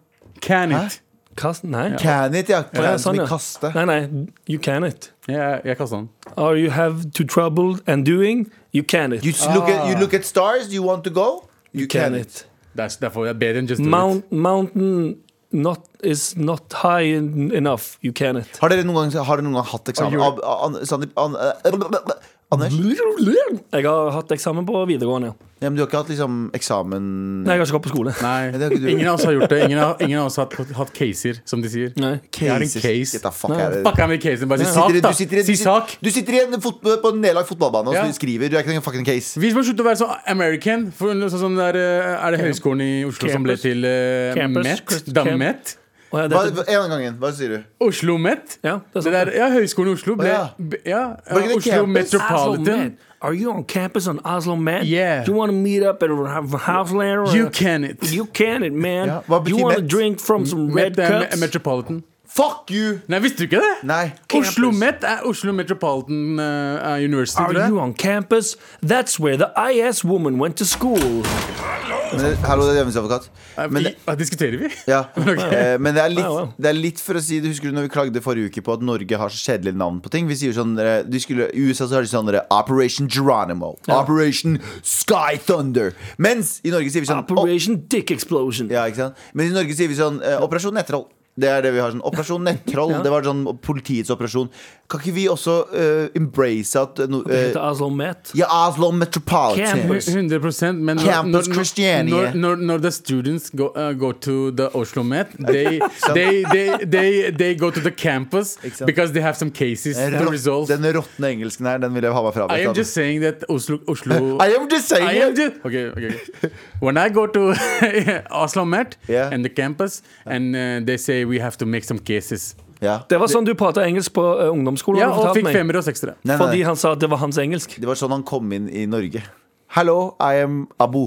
D: Can it.
B: Kast? Nei.
C: Can it, ja. Can
B: Ja,
C: som
B: sånn,
C: i
B: ja.
C: kaste.
B: Nei, nei. You can it.
D: Jeg, jeg kastet den.
B: Are you have to trouble and doing? You can it.
C: You, s- look at, you look at stars, you want to go? You can it.
D: Det er, derfor det er bedre enn just do it.
B: Mount, mountain not, is not high en- enough. You can it.
C: Har dere noen gang, har dere noen gang hatt eksamen?
D: gjorde-
C: Ab- An, Sandeep, an, eh, Anders?
B: Jeg har hatt eksamen på videregående.
C: Ja, men du har ikke hatt liksom eksamen
B: Nei, jeg har ikke gått på skole.
C: det har
D: Nei,
C: ikke du.
D: ingen av oss har gjort det. Ingen av, ingen av oss har hatt, hatt caser, som de sier.
B: Nei.
D: Jeg har en
C: Jesus,
D: case.
C: shit, da, fuck, er det-
D: Fuck er med casen. Bare si
C: Du sitter
D: sak,
C: i-
D: da.
C: du sitter i-
D: Si sak.
C: Du sitter i en fot, på en nedlagt fotballbane og
D: Ja.
C: så skriver. Du er ikke en fucking case.
D: Vi må slutte å være så American. For sånn som der, eh, er det Høgskolen i Oslo som ble
B: Campus.
D: til eh,
B: Campus.
D: MET?
B: Camp-
D: Damet?
B: Og jeg,
C: Hva,
B: dette,
C: en av gangen, hva sier du?
D: Oslo MET?
B: Ja, det er
D: det
B: sant, sånn
D: der, ja, Høgskolen i Oslo ble
C: Å, ja.
D: b- ja.
C: Var ikke det
D: Oslo
C: campus?
D: Metropolitan.
B: Are you on campus on Oslo Met?
D: Yeah.
B: Do you want to meet up at a ho- house later?
D: You can it.
B: You can it, man.
C: Ja, hva
B: you
C: betyr
B: want to
C: Met? eh,
B: drink from some red
D: Met er me-
B: cups?
D: Metropolitan.
C: Fuck you!
D: Nei, visste du ikke det?
C: Nei.
D: Oslo MET er Oslo Metropolitan eh, eh, University,
B: Are
D: tror jeg.
B: you on campus? That's where the IS woman went to school.
C: Men, det- Eh, hallo, det er hjemmesadvokat. Men, det-
D: I- ja, diskuterer vi?
C: ja. Eh, men det,
B: Ja, ja.
C: er litt, det er litt for å si det. Husker du når vi klagde forrige uke på at Norge har så kjedelige navn på ting? Vi sier sånn dere- de skulle, I USA så har de sånn dere, Operation Geronimo. Operation Sky Thunder. Mens i Norge sier vi sånn «Å,
B: Operation Dick Explosion.
C: Ja, ikke sant? Men i Norge sier vi sånn eh, Operasjon Nettroll. Det er det vi har sånn Operasjon Nettroll. Det var sånn politiets operasjon. Kan ikke vi også eh, embrace at eh, no, eh,
B: Heter Oslo Met.
C: Ja, Oslo Metropolitan.
B: Campus.
D: 100 men når,
C: Campus
D: når, når,
C: Christiania.
D: når, når, når the students go, uh, go to the Oslo Met, they, they, they, they, they go to the campus
C: sant?
D: because they have some cases
C: Den
D: to
C: rot-
D: resolve.
C: Den råtne engelsken her, den vil jeg ha meg fra
D: I am
C: meg.
D: just saying that Oslo, Oslo
C: I am just saying
D: I am
C: it.
D: ju- okay, okay, okay. When I go to Oslo Met
C: Yeah.
D: and the campus, and uh, they say we have to make some cases.
C: Ja.
B: Det var sånn du pratet engelsk på eh, ungdomsskolen.
D: Ja,
B: har du
D: og
B: fortalt
D: fikk
B: meg.
D: femmer og seksere.
C: Nei, nei,
B: Fordi
C: nei.
B: han sa at det var hans engelsk.
C: Det var sånn han kom inn i Norge. Hello, I am Abu.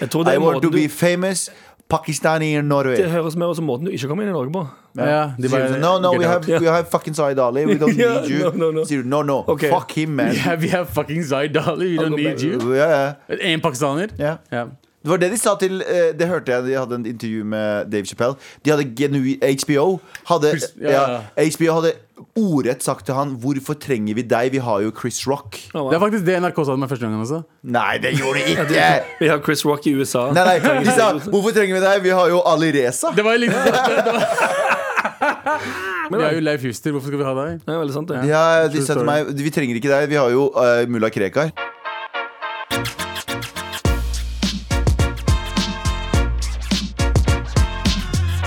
B: Jeg tror det
C: I
B: er
C: want to
B: måten du,
C: be famous Pakistani in Norway.
B: det høres mer ut som måten du ikke kom inn i Norge på.
D: Ja,
C: Sier
D: de
C: du
D: bare-
C: sånn, No, no,
D: get
C: we
D: out.
C: have, we have fucking Zaid Ali. We don't
B: Ja,
C: need you.
B: no, no, no.
C: Sier du no, no.
B: Ok.
C: Fuck him, man.
D: Yeah, we have fucking Zaid Ali, we don't
B: go
D: need
B: back.
D: you.
C: Ja, ja.
D: En pakistaner?
C: Ja.
D: Ja.
C: Det var det de sa til eh, Det hørte jeg, de hadde en intervju med Dave Chappelle. De hadde genu- HBO hadde,
D: Chris-
C: ja,
D: ja,
C: HBO hadde ordrett sagt til han 'Hvorfor trenger vi deg? Vi har jo Chris Rock'.
D: Det er faktisk det NRK sa til meg første gangen også.
C: Nei, det gjorde de ikke!
B: Vi har Chris Rock i USA.
C: Nei, nei, De sa 'Hvorfor trenger vi deg? Vi har jo Ali Reza'.
D: Det var litt Vi er jo Leif Juster, hvorfor skal vi ha deg?
B: Det er veldig sant, det.
C: Ja, de
D: True
C: sa til
D: story.
C: meg 'Vi trenger ikke deg. Vi har jo eh, mulla Krekar'.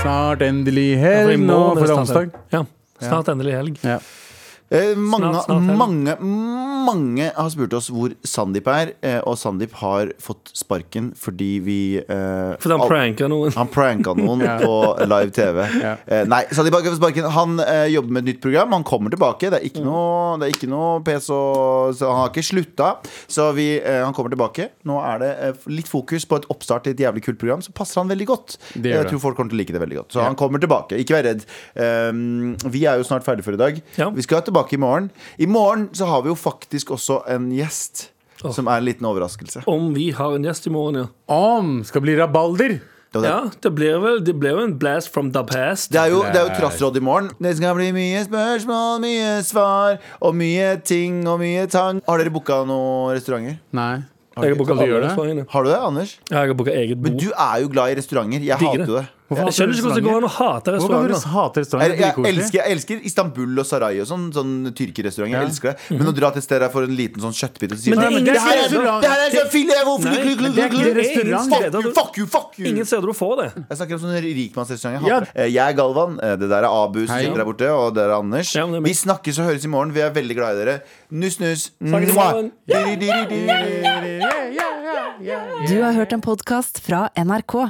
D: Snart endelig
B: For i
D: helg nå,
B: morgen er
D: for det er
B: snart
D: onsdag.
B: helg. Ja. Snart endelig helg.
D: Ja.
C: Eh, mange,
B: Snart, snart, eller?
C: mange, mange har spurt oss hvor Sandeep er, eh, og Sandeep har fått sparken fordi vi eh,
B: Fordi han
C: al-
B: pranka noen.
C: han pranka noen på live TV.
D: Ja.
C: Eh, nei, Sandeep har ikke fått sparken. Han eh, jobber med et nytt program. Han kommer tilbake. Det er
D: Mm.
C: ikke noe, det er ikke noe pes, og, så han har ikke slutta. Så vi, eh, han kommer tilbake. Nå er det eh, litt fokus på et oppstart til et jævlig kult program, så passer han veldig godt.
D: Det gjør
C: Jeg
D: det.
C: tror folk kommer til å like det veldig godt. Så han kommer tilbake. Ikke vær redd. Um, vi er jo snart ferdig for i dag.
B: Ja.
C: Vi skal tilbake i morgen. I morgen så har vi jo faktisk også en gjest.
B: Åh.
C: Som er en liten overraskelse.
B: Om vi har en gjest i morgen, ja.
D: Om skal bli rabalder!
C: Det var det.
B: Ja, det blir vel, det blir jo en blast from the past.
C: Det er jo, det er jo trassråd i morgen. Det skal bli mye spørsmål, mye svar og mye ting og mye tang. Har dere booka noen restauranter?
D: Nei.
B: Jeg har booka
D: Skal du gjøre
B: alle
D: det?
B: restaurantene.
C: Har du det, Anders?
B: Ja, Jeg har booka eget
C: Men
B: bord.
C: du er jo glad i restauranter. Jeg
B: Digger
C: hater det.
B: Jeg skjønner ikke hvordan det går an å hate
D: Hvorfor
B: restauranter.
D: kan dere hate
C: Jeg,
D: restauranter? Det er
C: jeg,
D: dritkoselig.
C: elsker, jeg elsker Istanbul og Sarai og sånn. Sånn tyrkerrestaurant. Jeg
D: Ja.
C: elsker det. Men å dra til et sted der for en liten sånn kjøttbit og si
B: Mhm. Men det er
C: sånn,
B: ingen
C: det her er så,
D: restaurant.
C: det her er så filet!
B: Nei,
C: Hvorfor ikke-
B: men det er ikke restaurant.
C: Fuck you, fuck you, fuck you!
B: Ingen steder du får det.
C: Jeg snakker om sånne rikmannsrestauranter. Jeg,
D: Ja.
C: hater. Eh, jeg er Galvan, eh, det der er Abu som
D: Hei.
C: sitter der borte, og det er Anders.
B: Ja, men det er meg.
C: vi snakkes og høres i morgen. Vi er veldig glad i dere. Nuss, nuss.
B: Snakkes i
C: Mwah.
B: morgen.
C: Diri, diri, diri.
A: Du har hørt en podkast fra NRK.